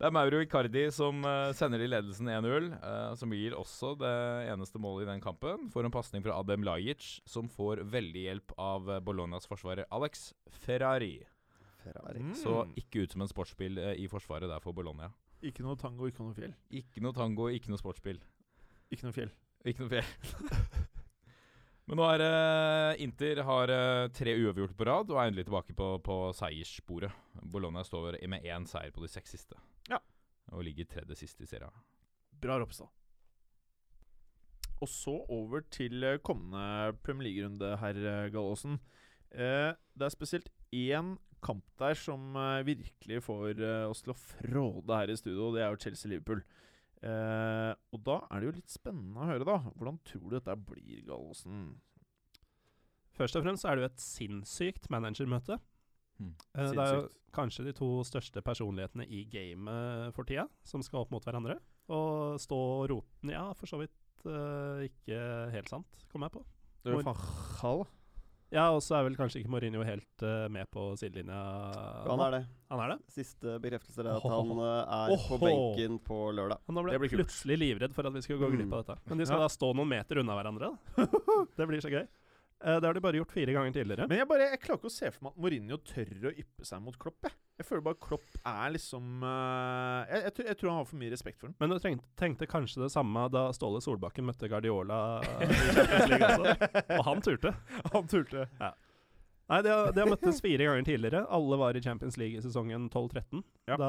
Speaker 5: Det er Mauro Icardi som eh, sender i ledelsen 1-0, eh, som gir også det eneste målet i den kampen. Får en pasning fra Adem Lajic, som får veldig hjelp av eh, Bolognas forsvarer Alex Ferrari.
Speaker 4: Ferrari.
Speaker 2: Mm.
Speaker 5: Så ikke ut som en sportsbil eh, i forsvaret der for Bologna.
Speaker 2: Ikke noe tango, ikke noe fjell.
Speaker 5: Ikke noe tango, ikke noe sportsbil.
Speaker 2: Ikke noe fjell.
Speaker 5: Ikke noe fjell. *laughs* Men nå er eh, Inter har eh, tre uavgjorte på rad og er endelig tilbake på, på seierssporet. Bologna står i- med én seier på de seks siste.
Speaker 2: Ja.
Speaker 5: Og ligger tredje sist i serien.
Speaker 2: Bra Ropstad. Og så over til eh, kommende Premier League-runde, herr eh, Gallaasen. Eh, det er spesielt én kamp der som eh, virkelig får eh, oss til å fråde her i studio, og det er jo Chelsea-Liverpool. Eh, og da er det jo litt spennende å høre, da. Hvordan tror du dette blir, Gallaasen?
Speaker 3: Først og fremst så er det jo et sinnssykt managermøte.
Speaker 5: Mm.
Speaker 3: Eh, Det er jo
Speaker 2: Hmm. Sinnssykt.
Speaker 3: kanskje de to største personlighetene i gamet for tida, som skal opp mot hverandre. Og stå og roten Ja, for så vidt eh, ikke helt sant, kom jeg på.
Speaker 2: Det er jo
Speaker 3: Mor-
Speaker 2: faen hall.
Speaker 3: Ja, og så er vel kanskje ikke Mourinho helt eh, med på sidelinja.
Speaker 4: Han er det.
Speaker 3: Han er det?
Speaker 4: Siste bekreftelse er at han eh, er på
Speaker 3: Ohoho.
Speaker 4: benken på lørdag.
Speaker 3: Han nå ble
Speaker 2: Det blir kult. Hmm.
Speaker 3: plutselig livredd for at vi skulle gå glipp av dette. Men de skal
Speaker 2: Ja.
Speaker 3: da stå noen meter unna hverandre.
Speaker 2: *laughs*
Speaker 3: Da. det blir så gøy. Eh, det har de bare gjort fire ganger tidligere.
Speaker 2: Men jeg bare, jeg klarer ikke å se for meg at Mourinho tør å yppe seg mot Klopp. Jeg, jeg føler bare Klopp er liksom eh, jeg, jeg, tror- jeg tror han har for mye respekt for den.
Speaker 3: Men du trengte, tenkte kanskje det samme da Ståle Solbakken møtte Guardiola
Speaker 2: *laughs*
Speaker 3: eh, i Champions League også. Og han turte.
Speaker 2: Han turte.
Speaker 3: Nei, de har, de har møttes fire ganger tidligere. Alle var i Champions League i sesongen 12-13,
Speaker 2: Ja.
Speaker 3: da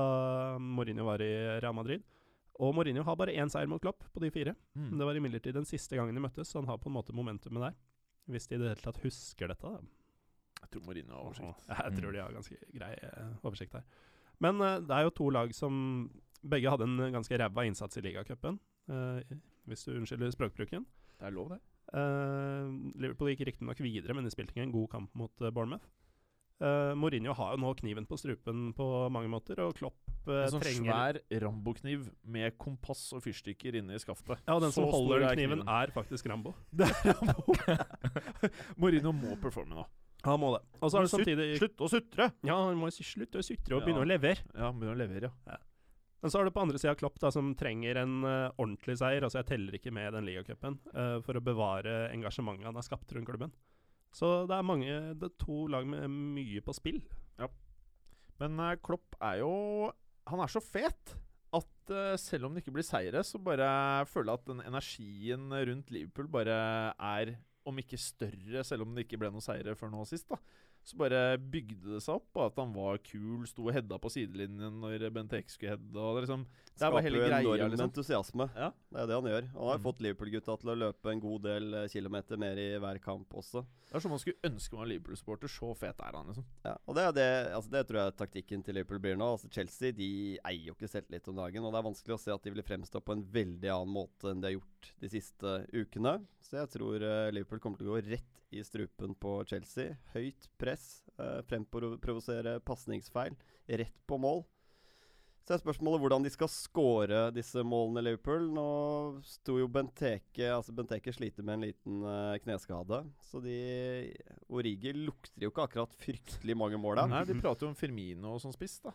Speaker 3: Mourinho var i Real Madrid. Og Mourinho har bare én seier mot Klopp på de fire. Men Det var imidlertid den siste gangen de møttes, så han har på en måte momentumet der. Hvis de i det hele tatt husker dette, da.
Speaker 2: Jeg tror Mourinho har oversikt.
Speaker 3: Åh, Mm. Jeg tror de har ganske grei eh, oversikt her. Men eh, det er jo to lag som begge hadde en ganske ræva innsats i ligacupen, eh, hvis du unnskylder språkbruken.
Speaker 2: Det er lov, det.
Speaker 3: Eh, Liverpool gikk riktignok videre, men de spilte ikke en god kamp mot eh, Bournemouth. Eh, Mourinho har jo nå kniven på strupen på mange måter, og Klopp eh,
Speaker 2: En sånn
Speaker 3: trenger
Speaker 2: svær rambokniv med kompass og fyrstikker inne i skaftet.
Speaker 3: Ja, og den
Speaker 2: Så
Speaker 3: som
Speaker 2: stor
Speaker 3: holder
Speaker 2: er
Speaker 3: kniven,
Speaker 2: kniven.
Speaker 3: er faktisk Rambo.
Speaker 2: Det er *laughs* Rambo. *laughs* Mourinho må performe nå.
Speaker 3: Han må det. Og så er det
Speaker 2: Slutt-
Speaker 3: samtidig
Speaker 2: Slutt å sutre!
Speaker 3: Ja, han må slutte å sutre og
Speaker 2: Ja.
Speaker 3: begynne å levere.
Speaker 2: Ja, han begynner å levere, ja.
Speaker 3: Men så har du på andre sida Klopp, da, som trenger en eh, ordentlig seier. Altså, jeg teller ikke med den ligacupen, eh, for å bevare engasjementet han har skapt rundt klubben. Så det er mange Det er to lag med mye på spill.
Speaker 2: Men eh, Klopp er jo Han er så fet at eh, selv om det ikke blir seire, så bare føler jeg at den energien rundt Liverpool bare er om ikke større, selv om det ikke ble noen seire før nå sist, da. Så bare bygde det seg opp, og at han var kul, sto og hedda på sidelinjen når Bent Eik skulle hedde, og det liksom Det er
Speaker 4: Skaper
Speaker 2: bare hele
Speaker 4: jo
Speaker 2: greia,
Speaker 4: enorm
Speaker 2: liksom.
Speaker 4: entusiasme.
Speaker 2: Ja.
Speaker 4: Det er det han gjør. Han har
Speaker 2: Mm.
Speaker 4: jo fått Liverpool-gutta til å løpe en god del eh, kilometer mer i hver kamp også.
Speaker 2: Det er som man skulle ønske man var Liverpool-supporter. Så fet er han, liksom.
Speaker 4: Ja, og det, er det, altså det tror jeg taktikken til Liverpool blir nå. Altså Chelsea de eier jo ikke selvtillit om dagen. Og det er vanskelig å se at de vil fremstå på en veldig annen måte enn de har gjort de siste ukene. Så jeg tror eh, Liverpool kommer til å gå rett i strupen på Chelsea. Høyt press, eh, fremprovosere pasningsfeil, rett på mål. Så er spørsmålet hvordan de skal score disse målene Liverpool. Nå sto jo Benteke altså Benteke sliter med en liten eh, kneskade. Så de Origi lukter jo ikke akkurat fryktelig mange mål av.
Speaker 2: Nei, de prater jo om Firmino som spiss, da.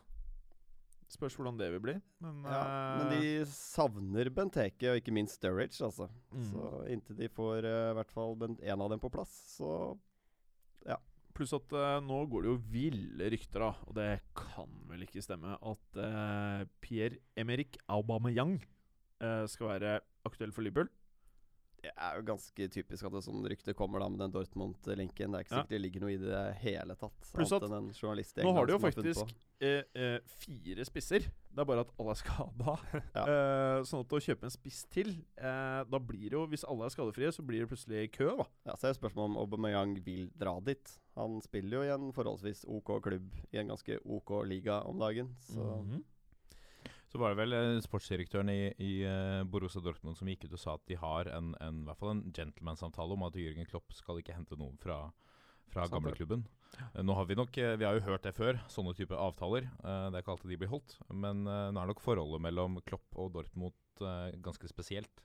Speaker 2: Spørs hvordan det vil bli. Men,
Speaker 4: Ja, men
Speaker 2: eh,
Speaker 4: de savner Benteke og ikke minst Sturridge, altså.
Speaker 2: mm.
Speaker 4: Så inntil de får eh, i hvert fall én av dem på plass, så
Speaker 2: Pluss at eh, nå går det jo ville rykter, da, og det kan vel ikke stemme, at eh, Pierre-Emerick Aubameyang eh, skal være aktuell for Liverpool.
Speaker 4: Det er jo ganske typisk at det sånn rykte kommer da med den Dortmund-linken. Det er ikke
Speaker 2: Ja.
Speaker 4: sikkert det ligger noe i det hele tatt.
Speaker 2: Pluss
Speaker 4: annet
Speaker 2: at
Speaker 4: enn en journalist i
Speaker 2: nå har
Speaker 4: England
Speaker 2: de jo
Speaker 4: som funnet
Speaker 2: faktisk- Eh, eh, fire spisser. Det er bare at alle er skada.
Speaker 4: Ja.
Speaker 2: Eh, sånn at å kjøpe en spiss til eh, Da blir det jo, hvis alle er skadefrie, så blir det plutselig kø, da.
Speaker 4: Ja, så er det spørsmålet om Aubameyang vil dra dit. Han spiller jo i en forholdsvis OK klubb i en ganske OK liga om dagen. Så
Speaker 2: Mhm.
Speaker 5: Så var det vel eh, sportsdirektøren i, i eh, Borussia Dortmund som gikk ut og sa at de har en, en, i hvert fall en gentleman-samtale om at Jürgen Klopp skal ikke hente noen fra, fra
Speaker 4: Sant det.
Speaker 5: gamleklubben. Eh, Nå har vi nok eh, Vi har jo hørt det før, sånne type avtaler. Eh, Det er ikke alltid de blir holdt. Men eh, nå er nok forholdet mellom Klopp og Dortmund eh, ganske spesielt.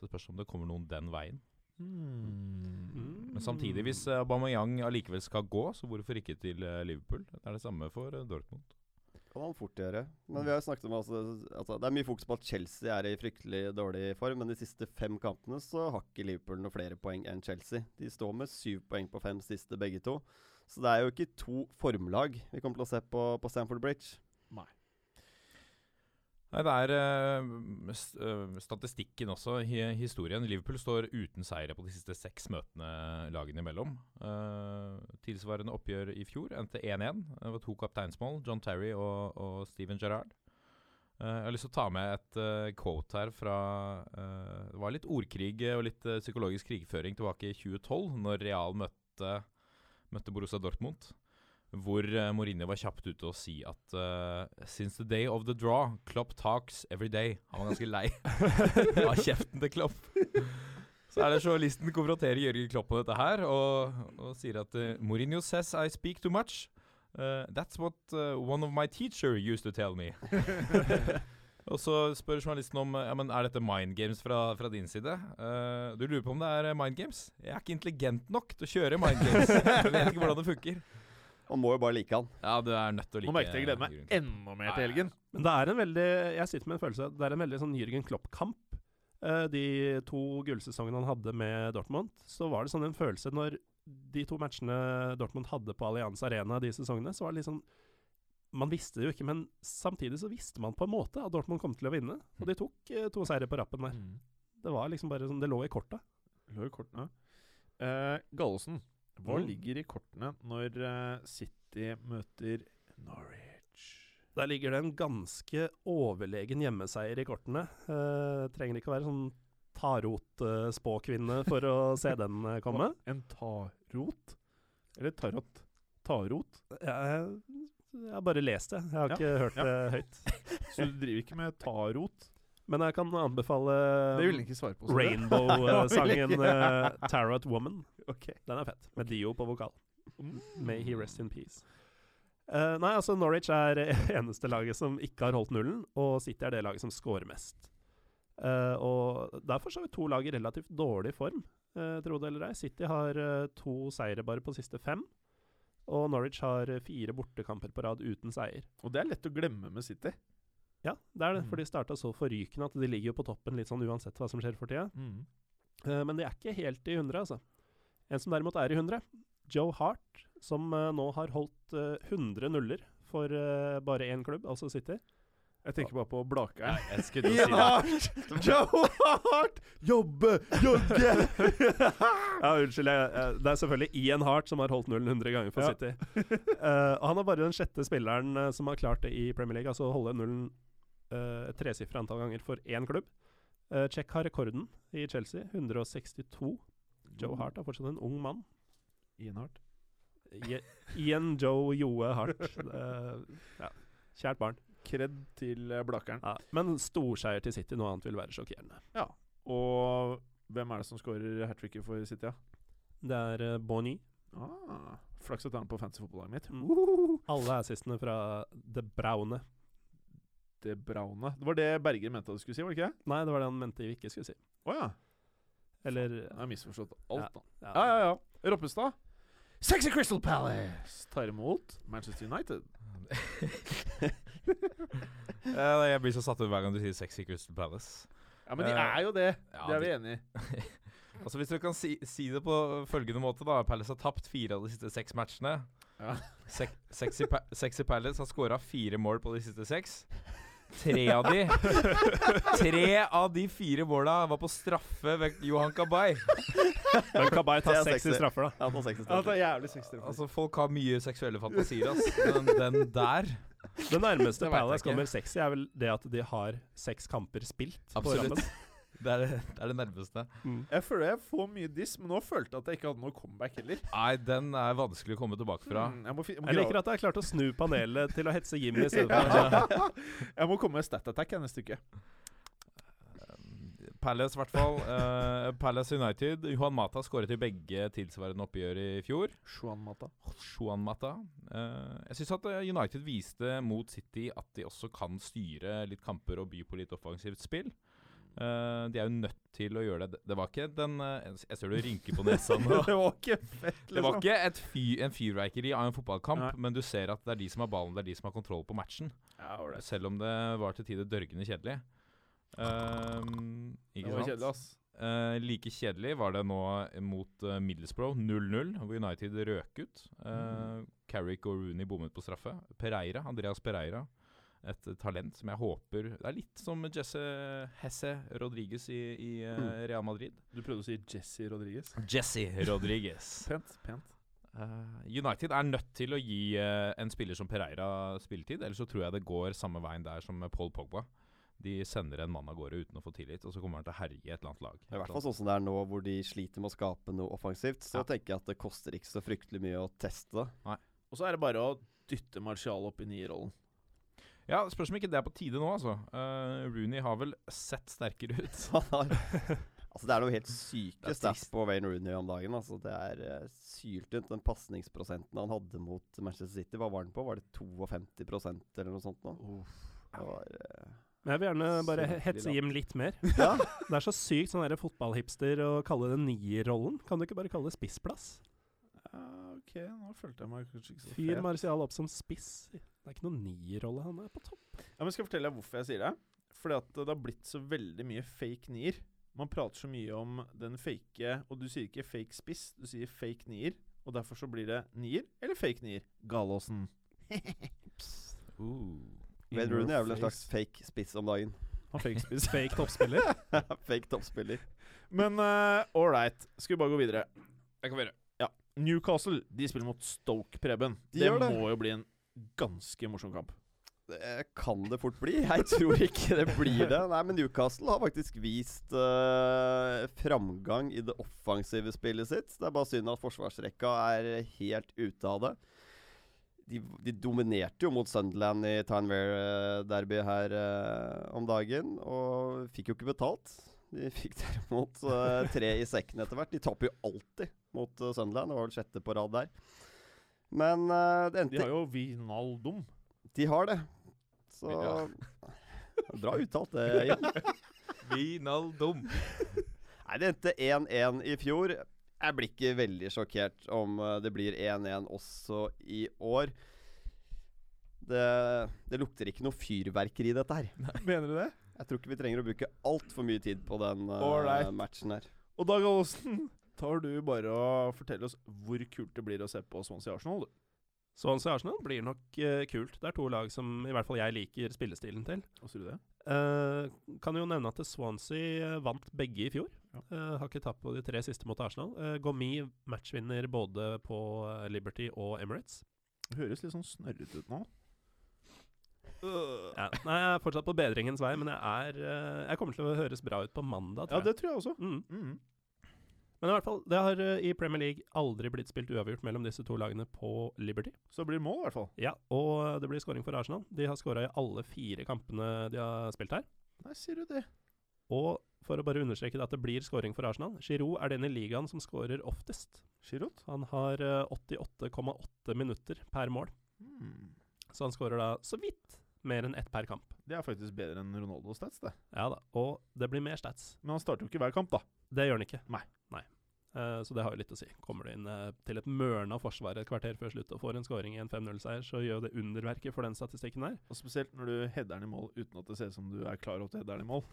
Speaker 5: Så spørs om det kommer noen den veien. Men
Speaker 3: Mm.
Speaker 5: samtidig, hvis eh, Aubameyang allikevel skal gå, så hvorfor ikke til eh, Liverpool? Det er det samme for eh, Dortmund.
Speaker 4: kan han fort gjøre. Men vi har jo snakket om altså, altså, Det er mye fokus på at Chelsea er i fryktelig dårlig form, men de siste fem kampene så har ikke Liverpool noe flere poeng enn Chelsea. De står med syv poeng på fem siste, begge to. Så det er jo ikke to formlag vi kommer til å se på på Stamford Bridge.
Speaker 5: Nei, det er eh, s- eh, statistikken også, hi- historien. Liverpool står uten seire på de siste seks møtene lagene imellom. Eh, tilsvarende oppgjør i fjor endte 1-1. Det var to kapteinsmål, John Terry og, og Steven Gerrard. Eh, jeg har lyst til å ta med et eh, quote her fra eh, Det var litt ordkrig og litt eh, psykologisk krigføring tilbake i 2012, når Real møtte, møtte Borussia Dortmund. Hvor eh, Mourinho var kjapt ute og si at eh, Since the day of the draw, Klopp talks every day. Han var ganske lei *laughs* av kjeften til Klopp. Så er det journalisten konfronterer Jørgen Klopp med dette her, og, og sier at eh, Mourinho says I speak too much. Eh, that's what eh, one of my teacher used to tell me. og så spør journalisten om eh, ja, men er dette mind games fra, fra din side. Eh, du lurer på om det er eh, mind games? Jeg er ikke intelligent nok til å kjøre mind games. Jeg vet ikke hvordan det funker.
Speaker 4: Man må jo bare like han.
Speaker 5: Ja, du er nødt til å like
Speaker 2: Nå merket jeg jeg gleder meg
Speaker 5: Jürgen Klopp.
Speaker 2: enda mer til helgen.
Speaker 3: Men det er en veldig Jeg sitter med en følelse av at det er en veldig sånn Jürgen Klopp-kamp. Eh, de to gullsesongene han hadde med Dortmund, så var det sånn en følelse når de to matchene Dortmund hadde på Allianz Arena de sesongene, så var det liksom Man visste det jo ikke, men samtidig så visste man på en måte at Dortmund kom til å vinne. Og de tok eh, to seire på rappen der. Det var liksom bare sånn Det lå i korta.
Speaker 2: Lå i kortene. Eh, Gallosen, hva
Speaker 3: Mm.
Speaker 2: ligger i kortene når eh, City møter Norwich?
Speaker 3: Der ligger det en ganske overlegen hjemmeseier i kortene. Eh, trenger ikke å være sånn tarot-spåkvinne for å se den eh, komme.
Speaker 2: *laughs* En tarot? Eller tarot? Tarot?
Speaker 3: Jeg, jeg har bare lest det. Jeg har
Speaker 2: Ja,
Speaker 3: ikke hørt
Speaker 2: ja.
Speaker 3: det høyt.
Speaker 2: *laughs* Så du driver ikke med tarot?
Speaker 3: Men jeg kan anbefale
Speaker 2: Det vil han ikke svare på. sa du? *laughs*
Speaker 3: Rainbow-sangen
Speaker 2: Ja.
Speaker 3: eh, Tarot Woman.
Speaker 2: Ok.
Speaker 3: Den er fett. Med Dio på vokal.
Speaker 2: Mm.
Speaker 3: May he rest in peace. Eh, nei, altså Norwich er *laughs* eneste laget som ikke har holdt nullen, og City er det laget som scorer mest. Eh, og derfor så har vi to lag i relativt dårlig form, eh, tro det eller ei. City har eh, to seire bare på siste fem, og Norwich har eh, fire bortekamper på rad uten seier.
Speaker 2: Og det er lett å glemme med City.
Speaker 3: Ja, det er det,
Speaker 2: Mm.
Speaker 3: for de starta så forrykende at de ligger jo på toppen litt sånn uansett hva som skjer for tida.
Speaker 2: Mm.
Speaker 3: Eh, men de er ikke helt i 100, altså. En som derimot er i 100, Joe Hart, som eh, nå har holdt eh, 100 nuller for eh, bare én klubb, altså City.
Speaker 2: Jeg tenker bare på Blakeren.
Speaker 5: Nei, jeg skulle til å
Speaker 3: *laughs*
Speaker 5: si
Speaker 2: Joe Hart! Jobbe! Jogge!
Speaker 3: Ja, unnskyld. jeg- jeg- det er selvfølgelig Ian Hart som har holdt nullen 100 ganger for
Speaker 2: Ja.
Speaker 3: City. Eh, og han er bare den sjette spilleren eh, som har klart det i Premier League, altså å holde nullen eh, et tresifra antall ganger for én klubb. Uh, Check har rekorden i Chelsea, 162.
Speaker 2: Mm.
Speaker 3: Joe Hart er fortsatt en ung mann.
Speaker 2: Ian Hart.
Speaker 3: Je- Ian Joe Joe Hart. Eh, ja. Kjært barn.
Speaker 2: Kred til eh, Blakeren.
Speaker 3: Ja. Men storseier til City, noe annet vil være sjokkerende.
Speaker 2: Og hvem er det som skårer hat tricket for City? Ja?
Speaker 3: Det er eh, Bonny.
Speaker 2: Ah, flaks at han er på fancyfotballaget mitt.
Speaker 3: Mm. Alle assistene fra det braune.
Speaker 2: Det braune. Det var det Berger mente at du skulle si, var det ikke? det?
Speaker 3: Nei, det var det han mente vi ikke skulle si.
Speaker 2: Å ja.
Speaker 3: Eller
Speaker 2: Jeg har misforstått alt, da.
Speaker 3: ja.
Speaker 2: Ja, ja, ja. Roppestad. Sexy Crystal Palace tar imot Manchester United. *laughs*
Speaker 5: det. Eh, nei, Jeg blir så satt ut hver gang du sier sexy Crystal Palace.
Speaker 2: Ja, men de
Speaker 5: Eh,
Speaker 2: er jo det.
Speaker 5: ja,
Speaker 2: det er vi
Speaker 5: de-
Speaker 2: enig i.
Speaker 5: Altså Hvis du kan si, si det på følgende måte, da. Palace har tapt fire av de siste seks matchene.
Speaker 2: Ja.
Speaker 5: Sek sexy, pa sexy Palace har scora fire mål på de siste seks. Tre
Speaker 2: *laughs*
Speaker 5: av de Tre av de fire måla var på straffe ved Johan Kabay.
Speaker 3: Men Kabay tar
Speaker 4: Det er
Speaker 3: seks i
Speaker 4: sexy.
Speaker 3: straffer, da.
Speaker 4: Han tar 60
Speaker 2: Ja, det
Speaker 4: straffer.
Speaker 2: er jævlig sexy.
Speaker 5: Altså Folk har mye seksuelle fantasier, ass. Den, den der.
Speaker 3: Det nærmeste
Speaker 5: Det vet jeg
Speaker 3: Palace
Speaker 5: ikke.
Speaker 3: kommer sexy, er vel det at de har seks kamper spilt
Speaker 5: Absolutt.
Speaker 3: på rammen. Mm.
Speaker 5: Det er det, det er det nærmeste.
Speaker 2: Jeg føler jeg får mye diss, men nå følte jeg at jeg ikke hadde noe comeback heller.
Speaker 5: Nei, den er vanskelig å komme tilbake fra.
Speaker 2: Mm, Jeg må, fi- jeg må,
Speaker 3: Jeg liker
Speaker 2: grave-
Speaker 3: at jeg har klart å snu panelet til å hetse
Speaker 2: *laughs*
Speaker 3: Jimmy i stedet for
Speaker 2: Ja. jeg må komme med stat attack jeg, neste uke.
Speaker 5: Palace, i hvert fall. Eh, Palace United. Johan Mata skåret i begge tilsvarende oppgjør i fjor.
Speaker 2: Juan Mata.
Speaker 5: Johan Mata. Eh, jeg syns at eh, United viste mot City at de også kan styre litt kamper og by på litt offensivt spill. Eh, de er jo nødt til å gjøre det. Det var ikke den eh, Jeg ser du rynker på nesa nå.
Speaker 2: *laughs* *laughs* Det var ikke fett,
Speaker 5: Det var
Speaker 2: liksom.
Speaker 5: ikke et fy, en fyrverkeri av en fotballkamp,
Speaker 2: Nei.
Speaker 5: men du ser at det er de som har ballen, det er de som har kontroll på matchen.
Speaker 2: Ja, ålreit.
Speaker 5: Selv om det var til tider dørgende kjedelig. Ehm,
Speaker 2: Det
Speaker 5: ikke
Speaker 2: var
Speaker 5: sant?
Speaker 2: kjedelig, ass.
Speaker 5: Eh, like kjedelig var det nå mot eh, Middlesbrough, 0-0, hvor United røk ut. Eh, Carrick og Rooney bommet på straffe. Pereira, Andreas Pereira et talent som jeg håper Det er litt som Jesse Hesse Rodriguez i, i eh,
Speaker 4: Mm.
Speaker 5: Real Madrid.
Speaker 2: Du prøvde å si Jesse Rodriguez.
Speaker 5: Jesse Rodriguez. *laughs*
Speaker 2: Pent. pent.
Speaker 5: Eh, United er nødt til å gi eh, en spiller som Pereira spilletid, ellers så tror jeg det går samme veien der som med Paul Pogba. De sender en mann av gårde uten å få tillit, og så kommer han til å herje i et eller annet lag.
Speaker 4: I hvert fall sånn som det er nå, hvor de sliter med å skape noe offensivt, så
Speaker 5: Ja.
Speaker 4: tenker jeg at det koster ikke så fryktelig mye å teste det.
Speaker 2: Og så er det bare å dytte Martial opp i nierrollen.
Speaker 5: Ja, Spørs om ikke det er på tide nå, altså. Eh, Rooney har vel sett sterkere ut.
Speaker 4: *laughs* Så han har Altså Det er noe helt syke
Speaker 5: Det er
Speaker 4: stats på Wayne Rooney om dagen. Altså Det er eh, syltynt. Den pasningsprosenten han hadde mot Manchester City, hva var den på? Var det 52 eller noe sånt nå? Det var, eh,
Speaker 3: Men jeg vil gjerne bare
Speaker 4: Smertelig
Speaker 3: hetse
Speaker 4: lavt.
Speaker 3: Jim litt mer.
Speaker 4: Ja.
Speaker 3: Det er så sykt sånn der fotballhipster å kalle det nierrollen. Kan du ikke bare kalle det spissplass?
Speaker 2: Ja, ok, nå følte jeg meg kanskje ikke så
Speaker 3: Fyr
Speaker 2: fet.
Speaker 3: Martial opp som spiss. Det er ikke noen nierrolle, han er på topp.
Speaker 2: Ja, men skal jeg fortelle deg hvorfor jeg sier det? Fordi at det har blitt så veldig mye fake nier. Man prater så mye om den fake Og du sier ikke fake spiss, du sier fake nier. Og derfor så blir det nier eller fake nier. Galåsen. In
Speaker 4: Wayne
Speaker 2: your
Speaker 4: Rooney er vel en
Speaker 2: face.
Speaker 4: slags fake spiss om dagen. *laughs*
Speaker 2: Han fake *laughs* spiss.
Speaker 3: Fake toppspiller.
Speaker 4: fake toppspiller.
Speaker 2: Men uh, all right, skal vi bare gå videre.
Speaker 5: Det kan vi gjøre.
Speaker 2: Newcastle de spiller mot Stoke, Preben.
Speaker 4: De
Speaker 2: det,
Speaker 4: gjør det.
Speaker 2: må jo bli en ganske morsom kamp.
Speaker 4: Det Eh, kan det fort bli. Jeg tror ikke det blir det. Nei, Men Newcastle har faktisk vist eh, framgang i det offensive spillet sitt. Det er bare synd at forsvarsrekka er helt ute av det. De, de dominerte jo mot Sunderland i Townware-derby her eh, om dagen, og fikk jo ikke betalt. De fikk derimot eh, tre i sekken etter hvert. De taper jo alltid mot eh, Sunderland. Det var vel sjette på rad der. Men eh, det endte
Speaker 2: De har jo Vinaldum.
Speaker 4: de har det. Så *laughs*
Speaker 5: Ja.
Speaker 4: Bra uttalt, eh, det, Jim.
Speaker 5: Vinaldum.
Speaker 4: Nei, det endte 1-1 i fjor. Jeg blir ikke veldig sjokkert om eh, det blir 1-1 også i år. Det, det lukter ikke noe fyrverkeri, dette her.
Speaker 2: *laughs* Mener du det?
Speaker 4: Jeg tror ikke vi trenger å bruke altfor mye tid på den eh,
Speaker 2: Alright.
Speaker 4: matchen her.
Speaker 2: Og Dag Aasen, tar du bare og forteller oss hvor kult det blir å se på Swansea Arsenal? du?
Speaker 3: Swansea Arsenal blir nok eh, kult. Det er to lag som i hvert fall jeg liker spillestilen til.
Speaker 2: Hva sier du det?
Speaker 3: Eh, kan jo nevne at Swansea eh, vant begge i fjor.
Speaker 2: Ja.
Speaker 3: Eh, har ikke tapt på de tre siste mot Arsenal. Uh, Gomi matchvinner både på eh, Liberty og Emirates.
Speaker 2: Det høres litt sånn snørrete ut nå.
Speaker 4: Øh.
Speaker 3: Ja. Nei, jeg er fortsatt på bedringens vei, men jeg, er, eh, jeg kommer til å høres bra ut på mandag,
Speaker 2: Ja,
Speaker 3: tror jeg.
Speaker 2: det tror jeg også.
Speaker 3: Mm.
Speaker 2: Mhm.
Speaker 3: Men i hvert fall, det har eh, i Premier League aldri blitt spilt uavgjort mellom disse to lagene på Liberty.
Speaker 2: Så det blir mål, i hvert fall.
Speaker 3: Ja, Og eh, det blir scoring for Arsenal. De har scora i alle fire kampene de har spilt her.
Speaker 2: Nei, sier du det?
Speaker 3: Og for å bare understreke det at det blir scoring for Arsenal, Giroud er den i ligaen som scorer oftest.
Speaker 2: Giroud?
Speaker 3: Han har eh, 88,8 minutter per mål,
Speaker 2: Mhm.
Speaker 3: så han skårer da så vidt mer enn ett per kamp.
Speaker 2: Det er faktisk bedre enn Ronaldo Stats, det.
Speaker 3: Ja da, og det blir mer stats.
Speaker 2: Men han starter jo ikke hver kamp, da.
Speaker 3: Det gjør han ikke.
Speaker 2: Nei.
Speaker 3: Eh, så det har jo litt å si. Kommer du inn eh, til et mørna forsvar et kvarter før slutt og får en scoring i en 5-0-seier, så gjør jo det underverket for den statistikken der.
Speaker 2: Og Spesielt når du header den i mål uten at det ser ut som du er klar opp til å heade den i mål.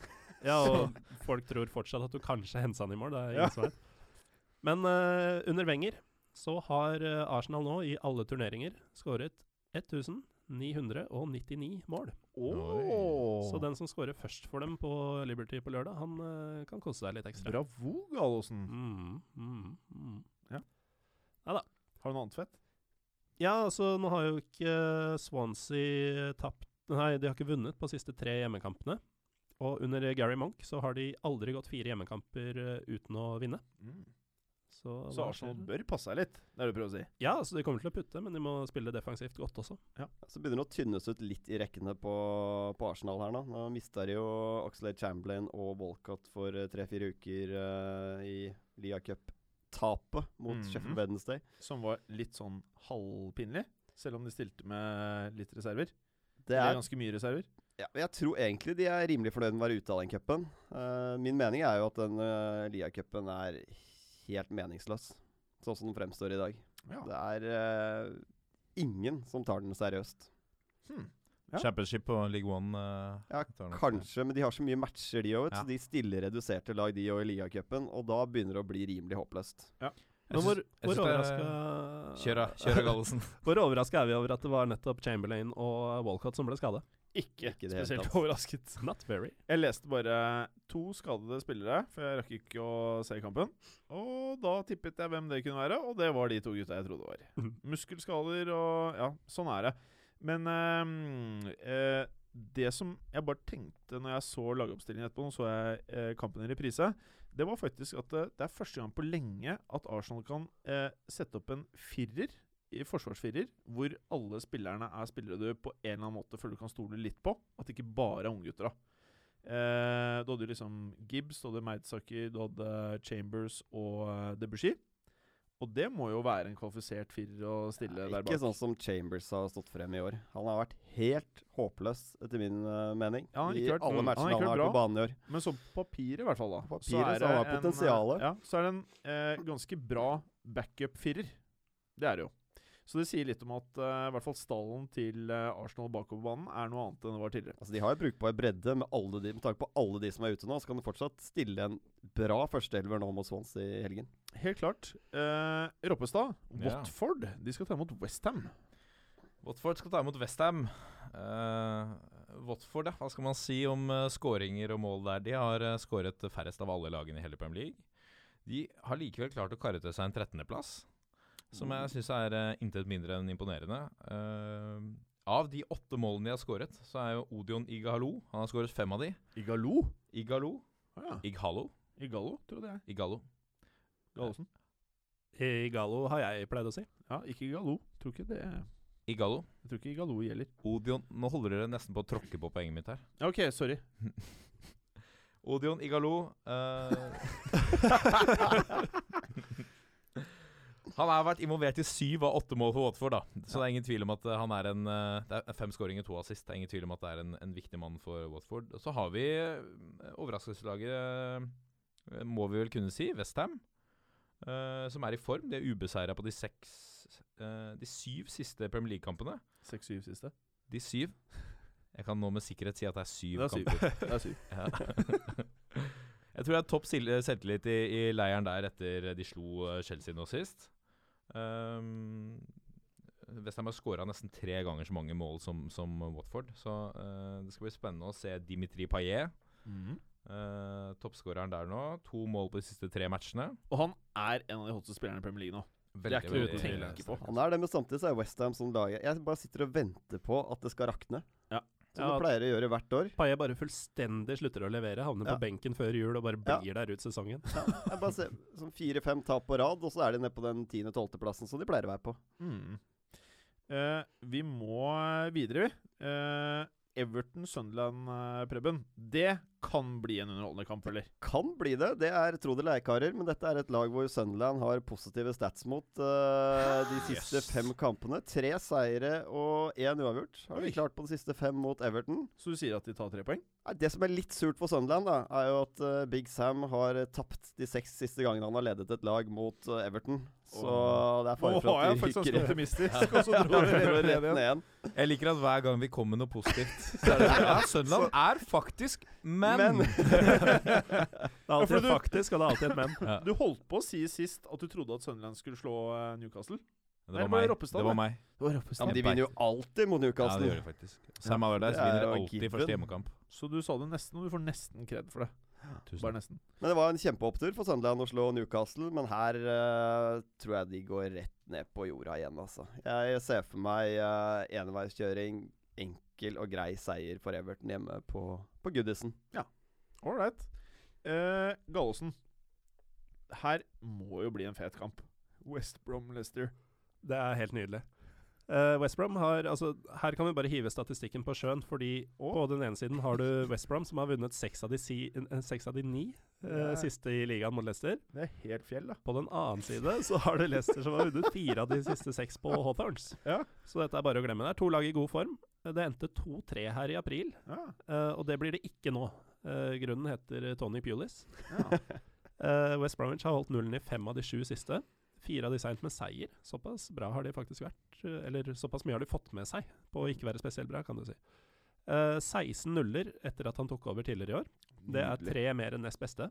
Speaker 3: Ja, og folk tror fortsatt at du kanskje hensa han i mål. Det er ingen
Speaker 2: Ja.
Speaker 3: som vet. Men eh, under Wenger så har eh, Arsenal nå i alle turneringer skåret 1999 mål.
Speaker 2: Åh.
Speaker 3: Så den som scorer først for dem på Liberty på lørdag, han eh, kan kose seg litt ekstra.
Speaker 2: Bravo, Gallosen.
Speaker 3: Mm, mm, mm.
Speaker 2: Har du noe annet fett?
Speaker 3: Ja, altså, nå har jo ikke eh, Swansea tapt Nei, de har ikke vunnet på de siste tre hjemmekampene. Og under Gary Monk så har de aldri gått fire hjemmekamper eh, uten å vinne. Så,
Speaker 2: Mm. Så
Speaker 3: hva
Speaker 2: Arsenal
Speaker 3: skjer?
Speaker 2: bør passe seg litt, det er det du prøver å si.
Speaker 3: Ja, altså de kommer til å putte, men de må spille defensivt godt også.
Speaker 4: Så begynner det å tynnes ut litt i rekkene på, på Arsenal her nå. Nå mista de jo Oxlade Chamberlain og Walcott for eh, tre-fire uker eh, i Lia Cup-tapet mot
Speaker 2: Mhm.
Speaker 4: Sheffield Wednesday.
Speaker 2: Som var litt sånn halvpinlig, selv om de stilte med litt reserver.
Speaker 4: Det er
Speaker 2: Eller ganske mye reserver.
Speaker 4: Ja, men jeg tror egentlig de er rimelig fornøyd med å være ute av den cupen. Eh, min mening er jo at den eh, Lia-cupen er helt meningsløs, sånn som den fremstår i dag.
Speaker 2: Ja.
Speaker 4: Det er eh, ingen som tar den seriøst.
Speaker 2: Hmm. Ja.
Speaker 5: Championship på League One. eh,
Speaker 4: Ja,
Speaker 5: jeg tar nok-
Speaker 4: Kanskje, men de har så mye matcher, de òg.
Speaker 5: Ja.
Speaker 4: Så de stiller reduserte lag, de òg, i Lia-cupen. Og da begynner det å bli rimelig håpløst.
Speaker 3: Men hvor,
Speaker 5: jeg
Speaker 3: hvor
Speaker 5: synes det er- Kjør
Speaker 3: overraska
Speaker 5: da.
Speaker 3: *laughs*
Speaker 5: Kjør da, Gallosen.
Speaker 3: Hvor overraska er vi over at det var nettopp Chamberlain og Walcott som ble skada?
Speaker 2: Ikke,
Speaker 4: Ikke i det hele
Speaker 2: spesielt
Speaker 4: tatt.
Speaker 2: overrasket.
Speaker 3: *laughs* Not very.
Speaker 2: Jeg leste bare to skadede spillere, for jeg rakk ikke å se kampen. Og da tippet jeg hvem det kunne være, og det var de to gutta jeg trodde det var.
Speaker 3: Mhm.
Speaker 2: Muskelskader og Ja, sånn er det. Men ehm, eh, det som jeg bare tenkte når jeg så lagoppstillingen etterpå, nå så jeg eh, kampen i reprise, det var faktisk at eh, det er første gang på lenge at Arsenal kan eh, sette opp en firer, i forsvarsfirer, hvor alle spillerne er spillere du på en eller annen måte føler du kan stole litt på. At det ikke bare er unggutter. da. Eh, du hadde jo liksom Gibbs, du hadde Meidsaker, du hadde Chambers og eh, Debussy. Og det må jo være en kvalifisert firer å stille der bak.
Speaker 4: Ikke sånn som Chambers har stått frem i år. Han har vært helt håpløs, etter min eh, mening,
Speaker 2: Ja, han har
Speaker 4: i
Speaker 2: ikke vært-
Speaker 4: alle
Speaker 2: mm, han
Speaker 4: matchene
Speaker 2: har ikke
Speaker 4: han har vært
Speaker 2: vært
Speaker 4: på banen i år.
Speaker 2: Men så på papiret, i hvert fall. da
Speaker 4: På papiret så har han
Speaker 2: en, eh,
Speaker 4: potensialet.
Speaker 2: Ja, så er det en eh, ganske bra backup-firer. Det er det jo. Så det sier litt om at eh, i hvert fall stallen til eh, Arsenal bakover banen er noe annet enn det var tidligere.
Speaker 4: Altså, de har jo brukbar bredde med, alle de, med tanke på alle de som er ute nå. Så kan du fortsatt stille en bra førsteelver nå mot Swans i helgen.
Speaker 2: Helt klart. Eh, Roppestad,
Speaker 5: Ja.
Speaker 2: Watford, de skal ta imot Westham.
Speaker 5: Watford skal ta imot Westham. Uh, Watford, ja. Hva skal man si om eh, skåringer og mål der? De har eh, skåret færrest av alle lagene i hele Premier League. De har likevel klart å karre til seg en 13.-plass, som jeg syns er eh, intet mindre enn imponerende. Eh, av de åtte målene de har skåret, så er jo Odion Igalo Han har skåret fem av de.
Speaker 2: Igalo?
Speaker 5: Igalo
Speaker 2: Å ja.
Speaker 5: Ighalo?
Speaker 2: Igalo, trodde jeg.
Speaker 5: Igalo.
Speaker 2: Gallosen.
Speaker 3: Igalo har jeg pleid å si.
Speaker 2: Ja, ikke Igalo. Tror ikke det Jeg
Speaker 5: Igalo.
Speaker 2: tror ikke Igalo gjelder.
Speaker 5: Odion Nå holder dere nesten på å tråkke på poenget mitt her.
Speaker 2: Ja, OK, sorry.
Speaker 5: Odion Igalo eh, *laughs* Han har vært involvert i syv av åtte mål for Watford, da. Så det er ingen tvil om at eh, han er en eh, Det er fem skåringer, to assist. Det er ingen tvil om at det er en, en viktig mann for Watford. Og så har vi eh, overraskelseslaget, eh, må vi vel kunne si, Westham. Uh, som er i form. De er ubeseira på de seks eh, De syv siste Premier League-kampene.
Speaker 2: 6-7 siste.
Speaker 5: De syv. Jeg kan nå med sikkerhet si at det er syv
Speaker 2: Det er syv.
Speaker 5: kamper.
Speaker 2: Det er syv.
Speaker 5: Ja. jeg tror det er topp sil- selvtillit i, i leiren der etter de slo eh, Chelsea nå sist. Um, Westham har skåra nesten tre ganger så mange mål som, som Watford. Så eh, det skal bli spennende å se Dimitri Payet,
Speaker 2: *laughs* Mhm.
Speaker 5: uh, toppskåreren der nå. To mål på de siste tre matchene.
Speaker 2: Og han er en av de hotteste spillerne i Premier League nå. Det er ikke noe å tenke på.
Speaker 4: Han er det, men samtidig så er Westham som laget Jeg bare sitter og venter på at det skal rakne.
Speaker 2: Ja.
Speaker 4: Som
Speaker 3: Ja.
Speaker 4: det pleier å gjøre hvert år.
Speaker 3: Paillet bare fullstendig slutter å levere, havner
Speaker 4: Ja.
Speaker 3: på benken før jul og bare
Speaker 4: Ja.
Speaker 3: blir der ut sesongen.
Speaker 4: Jeg bare ser sånn Fire-fem tap på rad, og så er de nede på den tiende-tolvteplassen som de pleier å være på.
Speaker 2: Mm. Eh, vi må videre, vi. Eh, Everton-Sunderland, eh, Preben. Det kan bli en underholdende kamp, eller?
Speaker 4: Kan bli det. Det er tro det eller ei, karer, men dette er et lag hvor Sunderland har positive stats mot eh, de
Speaker 2: Ah,
Speaker 4: siste
Speaker 5: Yes.
Speaker 4: fem kampene. Tre seire og én uavgjort har
Speaker 2: Oi.
Speaker 4: de klart på de siste fem mot Everton.
Speaker 2: Så du sier at de tar tre poeng?
Speaker 4: Nei, Det som er litt surt for Sunderland, da, er jo at eh, Big Sam har eh, tapt de seks siste gangene han har ledet et lag mot eh, Everton. Så det er fare
Speaker 2: Nå
Speaker 4: for
Speaker 2: var
Speaker 4: at
Speaker 2: jeg
Speaker 4: de
Speaker 2: faktisk *laughs* ganske
Speaker 4: rykker
Speaker 2: optimistisk, og
Speaker 4: *laughs*
Speaker 2: så dro jeg
Speaker 4: rykker
Speaker 2: *laughs* rett
Speaker 4: rett
Speaker 2: ned.
Speaker 4: ned igjen.
Speaker 5: Jeg liker at hver gang vi kommer med noe positivt, *laughs* så er det sånn, ja, Sønland er faktisk men.
Speaker 3: Det er
Speaker 2: Ja, for
Speaker 3: alltid
Speaker 2: du-
Speaker 3: faktisk, og det er alltid
Speaker 5: *laughs*
Speaker 3: et men.
Speaker 5: Ja,
Speaker 2: Du holdt på å si sist at du trodde at Sunderland skulle slå eh, Newcastle.
Speaker 5: det var
Speaker 2: Nei,
Speaker 5: meg.
Speaker 2: det var Roppestad,
Speaker 5: Det var meg.
Speaker 4: Ja, men de vinner jo alltid mot
Speaker 5: Ja, det
Speaker 4: Newcastle.
Speaker 5: gjør det faktisk. Sam Allardyce
Speaker 4: Det er
Speaker 5: vinner
Speaker 4: jo
Speaker 5: alltid
Speaker 4: given.
Speaker 5: første hjemmekamp.
Speaker 2: Så du sa det nesten, og du får nesten kred for det.
Speaker 5: Tusen
Speaker 2: Bare
Speaker 5: takk.
Speaker 2: nesten.
Speaker 4: men det var en kjempeopptur for Sunderland å slå Newcastle, men her eh, tror jeg de går rett ned på jorda igjen, altså. Jeg ser for meg uh, enveiskjøring, enkel og grei seier for Everton hjemme på, på Goodison.
Speaker 2: All right. Eh, Gallosen. Her må jo bli en fet kamp. West Brom Leicester.
Speaker 3: Det er helt nydelig. Eh, West Brom har, altså, her kan vi bare hive statistikken på sjøen, fordi på den ene siden har du West Brom, som har vunnet seks av de, si, eh, seks av de ni eh,
Speaker 2: Ja.
Speaker 3: siste i ligaen mot Leicester.
Speaker 2: Det er helt fjell, da.
Speaker 3: På den annen side så har du Leicester, som har vunnet fire av de siste seks på Hawthorns.
Speaker 2: Ja.
Speaker 3: Så dette er bare å glemme. Det er to lag i god form. Eh, Det endte 2-3 her i april,
Speaker 2: Ja,
Speaker 3: eh, og det blir det ikke nå. Eh, grunnen heter eh, Tony Pulis.
Speaker 2: ja.
Speaker 3: Eh, West Bromwich har holdt nullen i fem av de sju siste. Fire av de seint med seier. Såpass bra har de faktisk vært. eh, Eller såpass mye har de fått med seg på å ikke være spesielt bra, kan du si. Eh, 16 nuller etter at han tok over tidligere i år. Det er tre mer enn nest beste.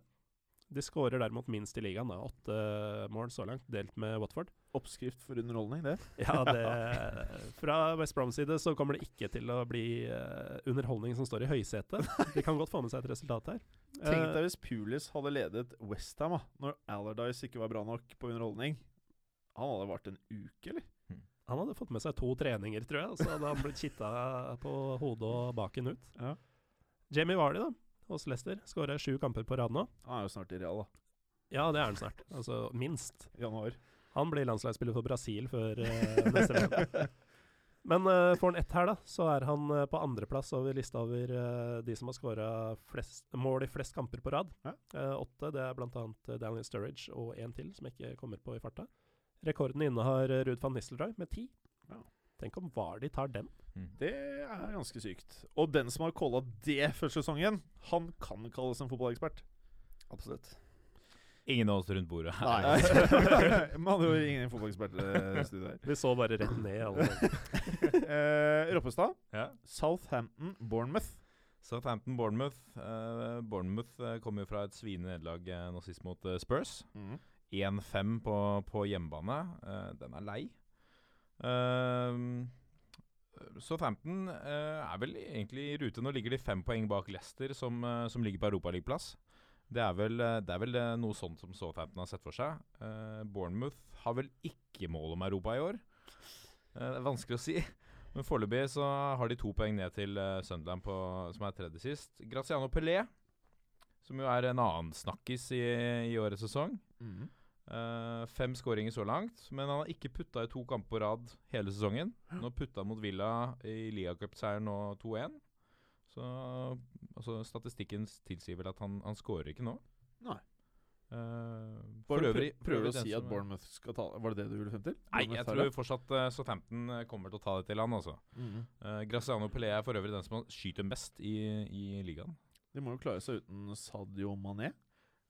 Speaker 3: De skårer derimot minst i ligaen. da. Åtte eh, mål så langt, delt med Watford.
Speaker 2: Oppskrift for underholdning, det.
Speaker 3: Ja, det, *laughs* Fra West Broms side så kommer det ikke til å bli eh, underholdning som står i høysetet. De kan godt få med seg et resultat her.
Speaker 2: Tenk
Speaker 3: Eh,
Speaker 2: deg hvis Pulis hadde ledet Westham når Allardyce ikke var bra nok på underholdning. Han hadde vært en uke, eller?
Speaker 3: han hadde fått med seg to treninger, tror jeg, og så hadde han blitt kitta på hodet og baken ut.
Speaker 2: Ja.
Speaker 3: Jamie Vardy, da, hos Leicester, skårer sju kamper på rad nå.
Speaker 2: Han er jo snart i Real, da.
Speaker 3: Ja, det er han snart. Altså minst.
Speaker 2: Januar.
Speaker 3: Han blir landslagsspiller for Brasil før eh, neste
Speaker 4: *laughs*
Speaker 3: VM. Men eh, får han ett her, da, så er han eh, på andreplass over lista over eh, de som har skåra mål i flest kamper på rad.
Speaker 2: Ja.
Speaker 3: Eh, åtte. Det er bl.a. Daniel Sturridge og én til som jeg ikke kommer på i farta. Rekorden innehar eh, Ruud van Nistelrooy med ti.
Speaker 2: Ja.
Speaker 3: Tenk om Vardy tar den.
Speaker 5: Mm.
Speaker 2: Det er ganske sykt. Og den som har calla det før sesongen, han kan kalles en fotballekspert.
Speaker 4: *laughs* Absolutt.
Speaker 5: Ingen av oss rundt bordet her.
Speaker 4: Nei.
Speaker 2: *laughs* Man hadde jo ingen fotballeksperter i studio her.
Speaker 3: Vi så bare rett ned.
Speaker 2: *laughs*
Speaker 3: Alle.
Speaker 2: Eh, Roppestad,
Speaker 5: *laughs* Ja.
Speaker 2: Southampton, Bournemouth.
Speaker 5: Southampton Bournemouth. Eh, Bournemouth eh, kommer jo fra et sviende nederlag eh, nå sist mot eh, Spurs.
Speaker 2: Mm.
Speaker 5: 1-5 på, på hjemmebane. Eh, den er lei. Ehm, Southampton eh, er vel egentlig i rute. Nå ligger de fem poeng bak Leicester, som, eh, som ligger på europaligaplass. Det er vel, eh, det er vel eh, noe sånt som Southampton har sett for seg. Eh, Bournemouth har vel ikke mål om Europa i år. Eh, det er vanskelig å si. Men foreløpig så har de to poeng ned til eh, Sunderland, på, som er tredje sist. Graziano Pelé, som jo er en annen snakkis i, i årets sesong.
Speaker 2: Mm.
Speaker 5: Eh, fem skåringer så langt, men han har ikke putta i to kamper på rad hele sesongen. Nå putta han mot Villa i ligacupseieren nå 2-1. Så altså, statistikken tilsier vel at han, han skårer ikke nå.
Speaker 2: Nei.
Speaker 5: Eh, for
Speaker 2: Bare
Speaker 5: øvrig-
Speaker 2: prøver,
Speaker 5: for øvrig
Speaker 2: å
Speaker 5: den
Speaker 2: si
Speaker 5: som
Speaker 2: at
Speaker 5: er-
Speaker 2: Bournemouth skal ta Var det det du ville frem til?
Speaker 5: Nei,
Speaker 2: Bournemouth
Speaker 5: jeg
Speaker 2: tar
Speaker 5: tror
Speaker 2: det?
Speaker 5: fortsatt uh, Southampton eh, kommer til å ta det til han, altså.
Speaker 2: Mhm.
Speaker 5: Eh, Graziano Pelé er for øvrig den som skyter mest i, i ligaen.
Speaker 2: De må jo klare seg uten Sadio Mané.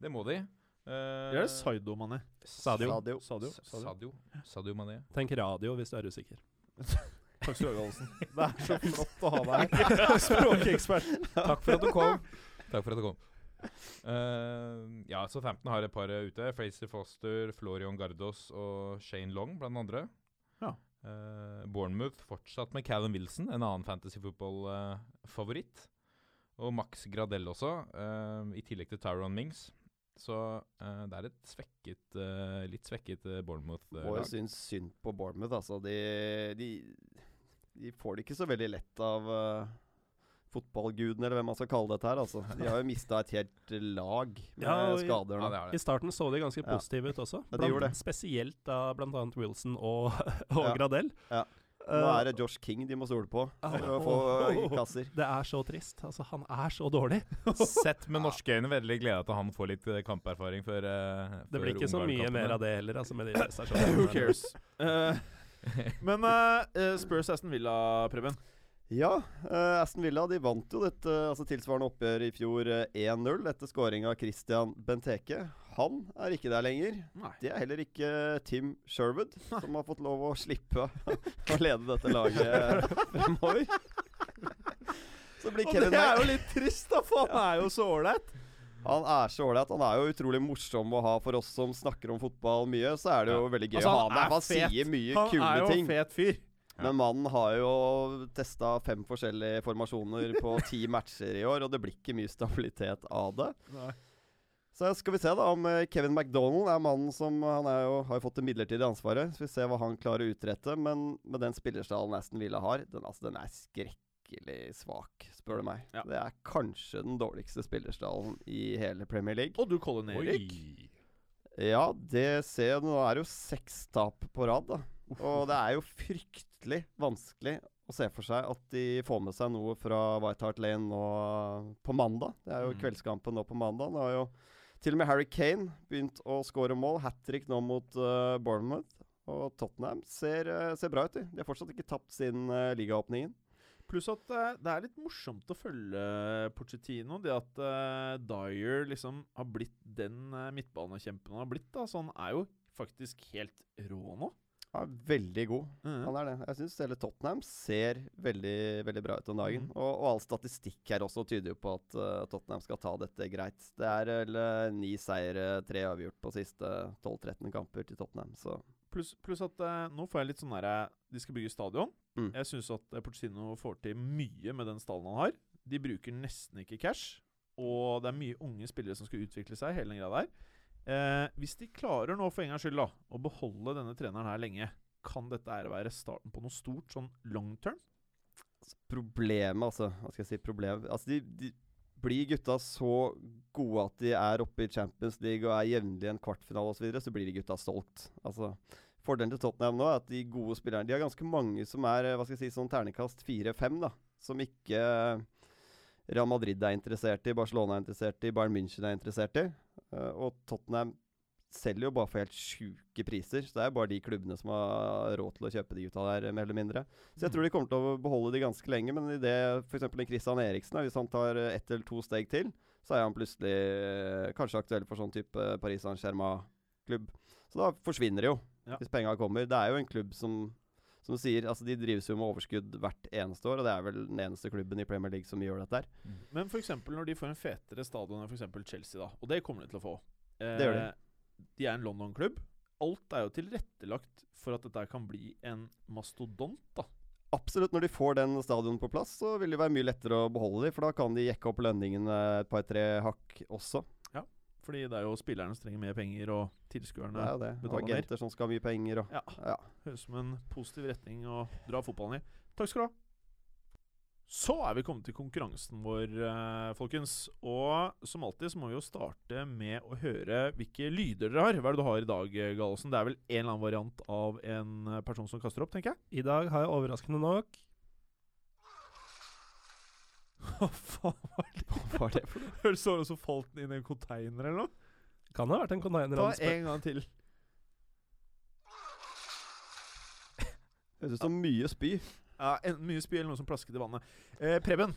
Speaker 5: Det må de. Eh,
Speaker 2: Eller er det Saido Mané?
Speaker 5: Sadio.
Speaker 4: Sadio.
Speaker 2: Sadio.
Speaker 5: S- Sadio. Sadio Mané.
Speaker 3: *laughs* Tenk radio hvis du er usikker.
Speaker 2: Takk skal du ha, Galsen.
Speaker 4: *laughs* Det er så flott å ha deg her.
Speaker 2: *laughs*
Speaker 4: *laughs*
Speaker 2: Språkekspert.
Speaker 5: Takk for at du kom. Takk for at du kom. Eh, ja, så 15 har et par eh, ute. Fraser Foster, Florian Gardos og Shane Long, blant andre.
Speaker 2: Ja.
Speaker 5: Eh, Bournemouth fortsatt med Callum Wilson, en annen fantasy football-favoritt. og Max Gradell også, eh, i tillegg til Tyron Mings. Så eh, det er et svekket, eh, litt svekket
Speaker 4: Må
Speaker 5: eh,
Speaker 4: jo
Speaker 5: Bournemouth-lag.
Speaker 4: synes synd på Bournemouth, altså. De, de, de får det ikke så veldig lett av eh, fotballguden, eller hvem man skal kalle dette her, altså. De har jo mista et helt lag med
Speaker 3: Ja, og i-
Speaker 4: skader nå.
Speaker 5: Ja, det er
Speaker 3: I
Speaker 5: det.
Speaker 3: starten så de ganske
Speaker 4: Ja.
Speaker 3: positive ut også.
Speaker 4: Ja, de gjorde det.
Speaker 3: Spesielt da bl.a. Wilson og, *laughs* og
Speaker 4: Ja.
Speaker 3: Gradell. Eh,
Speaker 4: Ja. Nå er det Josh King de må stole på for å få
Speaker 3: *laughs*
Speaker 4: kasser.
Speaker 3: Det er så trist. Altså, han er så dårlig.
Speaker 5: Sett
Speaker 3: *laughs*
Speaker 5: med norske øyne, veldig glede til han får litt eh, kamperfaring før eh,
Speaker 3: Det blir ikke så mye mer av det heller, altså, med de prestasjonene.
Speaker 2: Who cares? Eh, men eh, eh, Spurs Aston Villa, Preben.
Speaker 4: Ja, eh, Aston Villa de vant jo dette altså tilsvarende oppgjøret i fjor eh, 1-0 etter scoring av Christian Benteke. Han er ikke der lenger.
Speaker 2: Nei.
Speaker 4: Det er heller ikke eh, Tim Sherwood, som har fått lov å slippe å lede dette laget *laughs* fremover. Så blir Kevin Mac-
Speaker 2: litt trist, da, for han er jo så ålreit.
Speaker 4: Han er så ålreit. Han er jo utrolig morsom å ha for oss som snakker om fotball mye. Så er det jo veldig gøy
Speaker 2: Altså,
Speaker 4: å ha
Speaker 2: han
Speaker 4: ham der.
Speaker 2: er
Speaker 4: Han
Speaker 2: fet.
Speaker 4: sier mye
Speaker 2: Han
Speaker 4: kule
Speaker 2: er jo
Speaker 4: ting.
Speaker 2: en fet fyr.
Speaker 4: Men mannen har jo testa fem forskjellige formasjoner på ti matcher i år, og det blir ikke mye stabilitet av det. Så skal vi se da om eh, Kevin McDonald er mannen som eh, Han er jo, har jo fått det midlertidige ansvaret. Så vi ser hva han klarer å utrette. Men med den spillerstallen Aston Villa har, den, altså, den er skrekkelig svak, spør du meg.
Speaker 2: Ja.
Speaker 4: Det er kanskje den dårligste spillerstallen i hele Premier League.
Speaker 2: Og du, Colin Erik.
Speaker 4: Ja, det ser jeg. Nå er det jo seks tap på rad, da. Og det er jo fryktelig vanskelig å se for seg at de får med seg noe fra White Hart Lane nå på mandag. Det er jo
Speaker 2: Mm.
Speaker 4: kveldskampen nå på mandag. Nå har jo til og med Harry Kane begynt å skåre mål. Hat trick nå mot eh, Bournemouth. Og Tottenham ser, eh, ser bra ut, de. De har fortsatt ikke tapt sin eh, ligaåpningen.
Speaker 2: Pluss at eh, det er litt morsomt å følge Pochettino. Det at eh, Dyer liksom har blitt den eh, midtbanekjempen han har blitt, da. Så han er jo faktisk helt rå nå.
Speaker 4: Han er veldig god.
Speaker 2: Mhm.
Speaker 4: Han er det. Jeg syns hele Tottenham ser veldig veldig bra ut om dagen. Og, og all statistikk her også tyder jo på at eh, Tottenham skal ta dette greit. Det er vel eh, ni seire, tre avgjort på siste 12-13 kamper til Tottenham, så
Speaker 2: Pluss pluss at eh, nå får jeg litt sånn derre De skal bygge stadion.
Speaker 4: Mm.
Speaker 2: Jeg syns at eh, Pochettino får til mye med den stallen han har. De bruker nesten ikke cash, og det er mye unge spillere som skal utvikle seg. hele den greia der. Eh, hvis de klarer nå for en gangs skyld da, å beholde denne treneren her lenge, kan dette her være starten på noe stort, sånn long term?
Speaker 4: Altså, Problemet, altså. Hva skal jeg si? Problem Altså, de, de blir gutta så gode at de er oppe i Champions League og er jevnlig i en kvartfinale osv., så, videre, så blir de gutta solgt. Altså, fordelen til Tottenham nå er at de gode spillerne De har ganske mange som er eh, hva skal jeg si, sånn ternekast fire-fem, da. Som ikke eh, Real Madrid er interessert i, Barcelona er interessert i, Bayern München er interessert i. Eh, og Tottenham selger jo bare for helt sjuke priser. Så det er bare de klubbene som har råd til å kjøpe de gutta der, eh, mer eller mindre. Så jeg tror de kommer til å beholde de ganske lenge, men i det f.eks. Kristian Eriksen, da, hvis han tar eh, ett eller to steg til, så er han plutselig eh, kanskje aktuell for sånn type Paris Saint-Germain-klubb. Så da forsvinner det jo,
Speaker 2: Ja.
Speaker 4: hvis penga kommer. Det er jo en klubb som som du sier, altså De drives jo med overskudd hvert eneste år, og det er vel den eneste klubben i Premier League som gjør dette. her.
Speaker 5: Mm.
Speaker 2: Men f.eks. når de får en fetere stadion enn for eksempel Chelsea, da, og det kommer de til å få eh,
Speaker 4: Det gjør
Speaker 2: De er en London-klubb. Alt er jo tilrettelagt for at dette her kan bli en mastodont. da.
Speaker 4: Absolutt, når de får den stadion på plass, så vil det være mye lettere å beholde de, for da kan de jekke opp lønningene et par-tre hakk også.
Speaker 2: Fordi det er jo spillerne som trenger mer penger, og tilskuerne
Speaker 4: Det er jo det. Og
Speaker 2: betaler mer.
Speaker 4: agenter som skal ha mye penger og
Speaker 2: Ja.
Speaker 4: Ja.
Speaker 2: *laughs* Høres ut som en positiv retning å dra fotballen i. Takk skal du ha. Så er vi kommet til konkurransen vår, eh, folkens. Og som alltid så må vi jo starte med å høre hvilke lyder dere har. Hva er det du har i dag, eh, Gallosen? Det er vel en eller annen variant av en eh, person som kaster opp, tenker jeg? *laughs*
Speaker 3: I dag har jeg overraskende nok
Speaker 2: Hva faen var det?
Speaker 4: Hva var det for noe?
Speaker 2: Høres ut som falt den inn i en container eller noe.
Speaker 3: Kan ha vært en container
Speaker 2: Ta
Speaker 3: han spør-
Speaker 2: en gang til.
Speaker 4: Høres ut som mye spy.
Speaker 2: Ja, en, mye spy eller noe som plasket i vannet. Eh, Preben.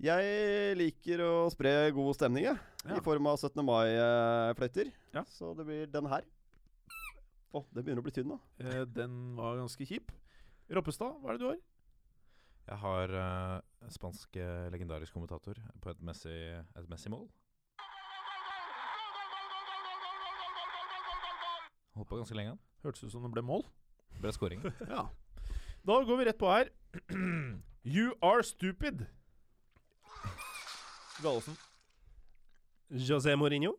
Speaker 4: Jeg liker å spre god stemning, jeg.
Speaker 2: Ja.
Speaker 4: I form av 17. mai-fløyter.
Speaker 2: Ja.
Speaker 4: Så det blir den her. Å, den begynner å bli tynn nå.
Speaker 2: Eh, den var ganske kjip. Roppestad, hva er det du har?
Speaker 5: Jeg har eh, spansk eh, legendarisk kommentator på et Messi, et Messi-mål. Holdt på ganske lenge. han.
Speaker 2: Hørtes ut som det ble mål.
Speaker 5: Ble *laughs* scoring.
Speaker 2: Ja. Da går vi rett på her. *clears throat* You are stupid. Gallosen.
Speaker 3: José Mourinho.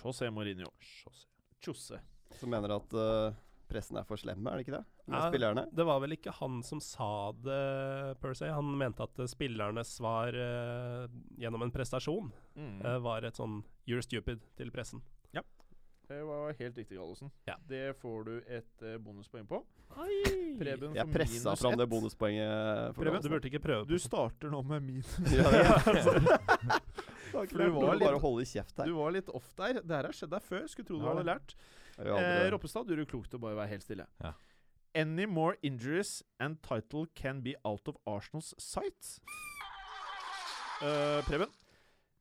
Speaker 2: José Mourinho.
Speaker 5: Sjås.
Speaker 2: Tjosse.
Speaker 4: Som mener at eh, pressen er for slemme, er det ikke det? Med
Speaker 3: Ja.
Speaker 4: spillerne.
Speaker 3: Det var vel ikke han som sa det, per se. Han mente at eh, spillernes svar eh, gjennom en prestasjon
Speaker 2: Mm.
Speaker 3: eh, var et sånn 'you're stupid' til pressen.
Speaker 2: Det var helt riktig, Gallosen.
Speaker 3: Ja.
Speaker 2: Det får du et eh, bonuspoeng på.
Speaker 3: *laughs*
Speaker 2: Preben
Speaker 4: Jeg
Speaker 2: får
Speaker 4: pressa
Speaker 2: minus
Speaker 4: fram
Speaker 2: ett.
Speaker 4: det bonuspoenget. for
Speaker 3: Preben,
Speaker 4: Galsen.
Speaker 3: du burde ikke prøve.
Speaker 2: Du starter nå med min.
Speaker 4: Ja, det er
Speaker 2: For
Speaker 4: Du var litt... bare holde kjeft her.
Speaker 2: *laughs* du var litt off der. Det her har skjedd deg før. Skulle tro du
Speaker 4: Ja,
Speaker 2: hadde
Speaker 4: det.
Speaker 2: lært.
Speaker 4: Jeg har
Speaker 2: Eh,
Speaker 4: aldri-
Speaker 2: Roppestad, du gjør klokt å bare være helt stille.
Speaker 5: Ja.
Speaker 2: Any more injuries and title can be out of Arsenals sight? Eh, Preben?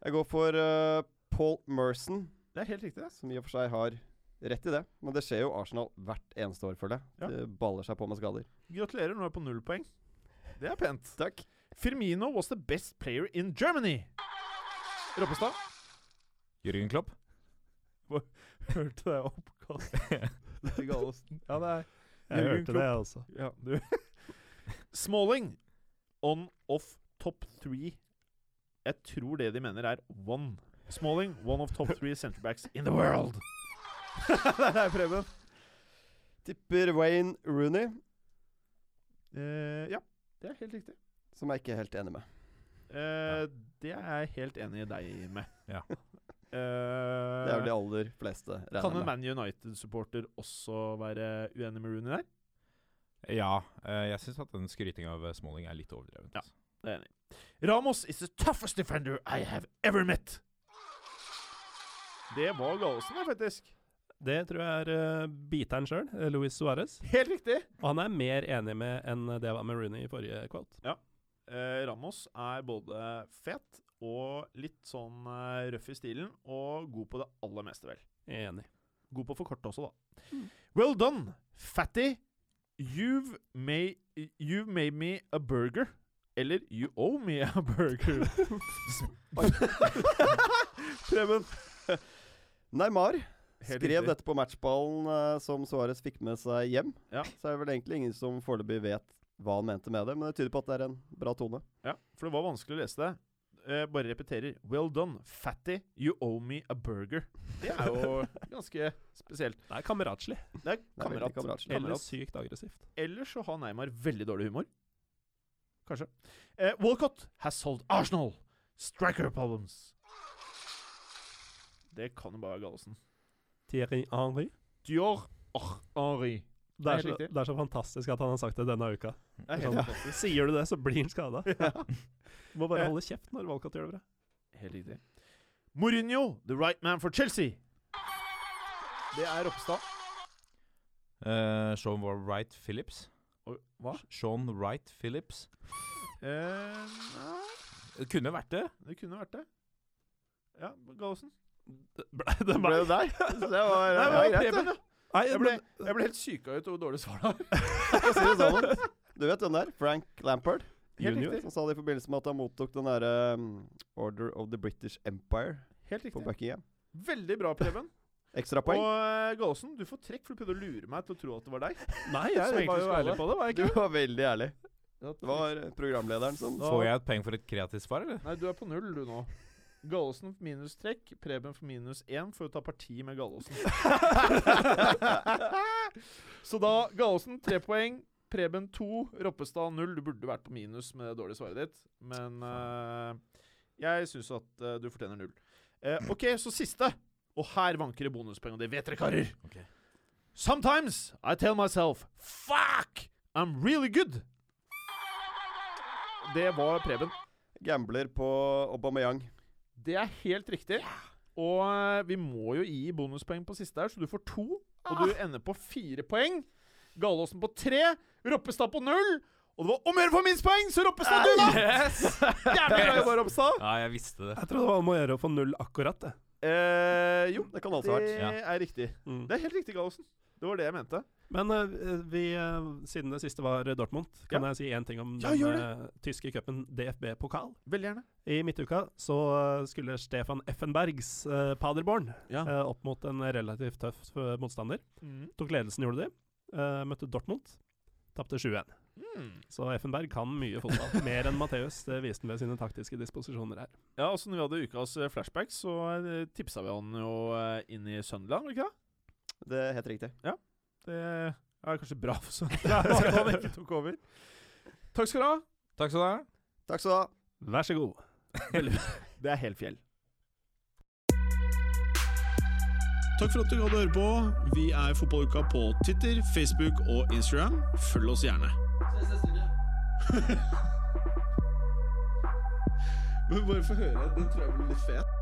Speaker 4: Jeg går for eh, Paul Merson,
Speaker 2: Det er helt riktig. ass.
Speaker 4: som i og for seg har rett i det. Men det skjer jo Arsenal hvert eneste år, føler jeg.
Speaker 2: Ja.
Speaker 4: Det baller seg på med
Speaker 2: *laughs*
Speaker 4: skader.
Speaker 2: Gratulerer, nå er jeg på null poeng. Det er pent.
Speaker 4: Takk.
Speaker 2: Firmino was the best player in Germany. Roppestad?
Speaker 5: Jørgen Klopp.
Speaker 2: *laughs* Hørte det oppkast til Gallosen. Ja, det er
Speaker 3: Jeg
Speaker 2: Jürgen
Speaker 3: hørte det, jeg også.
Speaker 2: Ja, du *laughs* Smalling on off top three. Jeg tror det de mener er one. Smalling, one of top three centerbacks in the world.
Speaker 4: *laughs*
Speaker 2: Der er Preben.
Speaker 4: Tipper Wayne Rooney,
Speaker 2: Eh, ja, det er helt riktig.
Speaker 4: som jeg ikke er helt enig med.
Speaker 2: Eh, Det er jeg helt enig i deg med. *laughs*
Speaker 5: Ja.
Speaker 2: Eh,
Speaker 4: Det er vel de aller fleste,
Speaker 2: kan en
Speaker 4: regner jeg med.
Speaker 2: Man United-supporter også være uenig med Rooney der?
Speaker 5: Ja, eh, jeg syns at den skrytinga av eh, Smalling er litt altså. overdreven.
Speaker 2: Ja. Det er jeg enig. i. Ramos is the toughest defender I have ever met. Det var Gallosen, det, faktisk.
Speaker 3: Det tror jeg er eh, biteren sjøl, Luis Suárez.
Speaker 2: Helt riktig.
Speaker 3: Og han er mer enig med enn det jeg var med Rooney i forrige quote.
Speaker 2: Eh, Ramos er både fet og litt sånn eh, røff i stilen, og god på det aller meste, vel.
Speaker 3: Enig.
Speaker 2: Mm. God på å forkorte også, da. Well done, Fatty, you've made, you've made me a burger. Eller You owe me a burger. *laughs*
Speaker 4: Preben.
Speaker 2: *laughs*
Speaker 4: Neymar
Speaker 2: Helt
Speaker 4: skrev
Speaker 2: riktig.
Speaker 4: dette på matchballen eh, som Suárez fikk med seg hjem.
Speaker 2: Ja.
Speaker 4: Så er det vel egentlig ingen som foreløpig vet hva han mente med det, men det tyder på at det er en bra
Speaker 2: *laughs*
Speaker 4: tone.
Speaker 2: Ja, for det var vanskelig å lese det. Eh, bare repeterer. Well done, fatty. You owe me a burger. Det er *laughs* jo ganske spesielt.
Speaker 3: Det er kameratslig.
Speaker 2: Det
Speaker 4: Det
Speaker 2: er
Speaker 4: er veldig
Speaker 2: kamerat.
Speaker 4: kameratslig.
Speaker 2: Eller-
Speaker 3: Eller sykt aggressivt.
Speaker 2: Ellers så har Neymar veldig dårlig humor. Kanskje. Eh, Walcott has solved Arsenal. Striker problems. Det kan jo bare være Gallosen.
Speaker 3: Thierry Henry.
Speaker 2: Dior Ar- Henri.
Speaker 3: Det er,
Speaker 2: Helt
Speaker 3: så,
Speaker 2: riktig.
Speaker 3: det er så fantastisk at han har sagt det denne uka.
Speaker 2: Det er
Speaker 3: Ja.
Speaker 2: helt fantastisk.
Speaker 3: *laughs* Sier du det, så blir han skada. Må
Speaker 2: Eh.
Speaker 3: bare holde kjeft når Walcott gjør det bra.
Speaker 2: Helt riktig. Mourinho, the right man for Chelsea. Det er Ropstad.
Speaker 5: Eh, Sean Wright Phillips.
Speaker 2: Oi, hva?
Speaker 5: Sean Wright Phillips.
Speaker 2: Eh, nei,
Speaker 5: Det kunne vært det.
Speaker 2: det kunne vært det. Ja, Gallosen.
Speaker 3: Det
Speaker 4: Ble
Speaker 3: er
Speaker 4: det
Speaker 2: *laughs*
Speaker 3: meg.
Speaker 4: der? Det var,
Speaker 2: Nei,
Speaker 4: det var
Speaker 2: men
Speaker 4: greit,
Speaker 2: Preben,
Speaker 4: det.
Speaker 2: ja.
Speaker 3: Nei,
Speaker 2: Jeg ble,
Speaker 3: men,
Speaker 2: jeg ble helt syka ut over dårlig
Speaker 3: *laughs*
Speaker 2: svar der.
Speaker 4: Hva sier du
Speaker 3: sånn.
Speaker 2: *laughs*
Speaker 4: sammen? Du vet hvem det er? Frank Lampard.
Speaker 2: Helt
Speaker 4: junior,
Speaker 2: riktig.
Speaker 4: Som sa det i forbindelse med at han mottok den derre um, Order of the British Empire
Speaker 2: Helt
Speaker 4: på
Speaker 2: riktig.
Speaker 4: Buckingham.
Speaker 2: Veldig bra, Preben.
Speaker 4: Ekstrapoeng.
Speaker 2: Og eh, Gallosen, du får trekk, for du prøvde å lure meg til å tro at det var deg.
Speaker 3: nei,
Speaker 4: *laughs*
Speaker 2: Som
Speaker 3: jeg
Speaker 2: egentlig
Speaker 3: var jo
Speaker 2: skulle
Speaker 3: ærlig
Speaker 2: ha
Speaker 3: på det, var jeg
Speaker 4: Du
Speaker 3: ikke?
Speaker 4: var veldig ærlig. Det
Speaker 2: det.
Speaker 4: var programlederen som
Speaker 2: Da-
Speaker 5: Får jeg et poeng for et kreativt svar, eller?
Speaker 2: *laughs* Nei, du er på null, du nå. Gallosen får minustrekk, Preben får minus én for å ta parti med Gallosen. *laughs* Så da Gallosen tre poeng, Preben to, Roppestad null. Du burde vært på minus med det dårlige svaret ditt, men eh, jeg syns at eh, du fortjener null. Eh, OK, så siste. Og her vanker det bonuspoeng, og det vet dere, karer.
Speaker 5: Ok.
Speaker 2: Sometimes I tell myself Fuck! I'm really good! Det var Preben.
Speaker 4: gambler på Aubameyang.
Speaker 2: Det er helt riktig. Og eh, vi må jo gi bonuspoeng på siste her, så du får to. Og du ender på fire poeng. Galåsen på tre. Roppestad på null. Og det var om å gjøre for minst poeng, så Roppestad du vant!
Speaker 5: Yes!
Speaker 2: *laughs* Jævlig bra jobba, Roppestad.
Speaker 5: Ja, jeg visste det.
Speaker 3: Jeg trodde det var om å gjøre å få null akkurat, det.
Speaker 2: Eh, jo,
Speaker 4: Det kan altså
Speaker 2: det
Speaker 4: ha vært.
Speaker 5: Ja.
Speaker 2: er riktig.
Speaker 3: Mm.
Speaker 2: Det er helt riktig, Galåsen. Det var det jeg mente.
Speaker 3: Men eh, vi, eh, siden det siste var eh, Dortmund, kan jeg si én ting om
Speaker 2: Ja,
Speaker 3: den
Speaker 2: gjør
Speaker 3: eh, tyske cupen DFB-pokal?
Speaker 2: Veldig gjerne.
Speaker 3: I midtuka så eh, skulle Stefan Effenbergs eh, Paderborn
Speaker 2: Ja.
Speaker 3: eh, opp mot en relativt tøff eh, motstander.
Speaker 2: Mm.
Speaker 3: Tok ledelsen, gjorde de. Eh, møtte Dortmund. Tapte 7-1.
Speaker 2: Mm.
Speaker 3: Så Effenberg kan mye fotball. Mer enn Matheus. Det viste han ved sine taktiske disposisjoner her.
Speaker 2: Ja, altså når vi hadde ukas eh, flashback, så eh, tipsa vi han jo eh, inn i Sunderland, var det ikke det?
Speaker 4: Det er helt riktig.
Speaker 2: Det er kanskje bra for Sunderland at *laughs* han ikke tok over. Takk skal du ha.
Speaker 5: Takk skal du ha.
Speaker 4: Takk skal du ha.
Speaker 3: Vær så god.
Speaker 2: Det er helt fjell.
Speaker 1: Takk for at du gadd å høre på. Vi er Fotballuka på Twitter, Facebook og Instagram. Følg oss gjerne. Men bare få høre. Den tror jeg blir litt fet.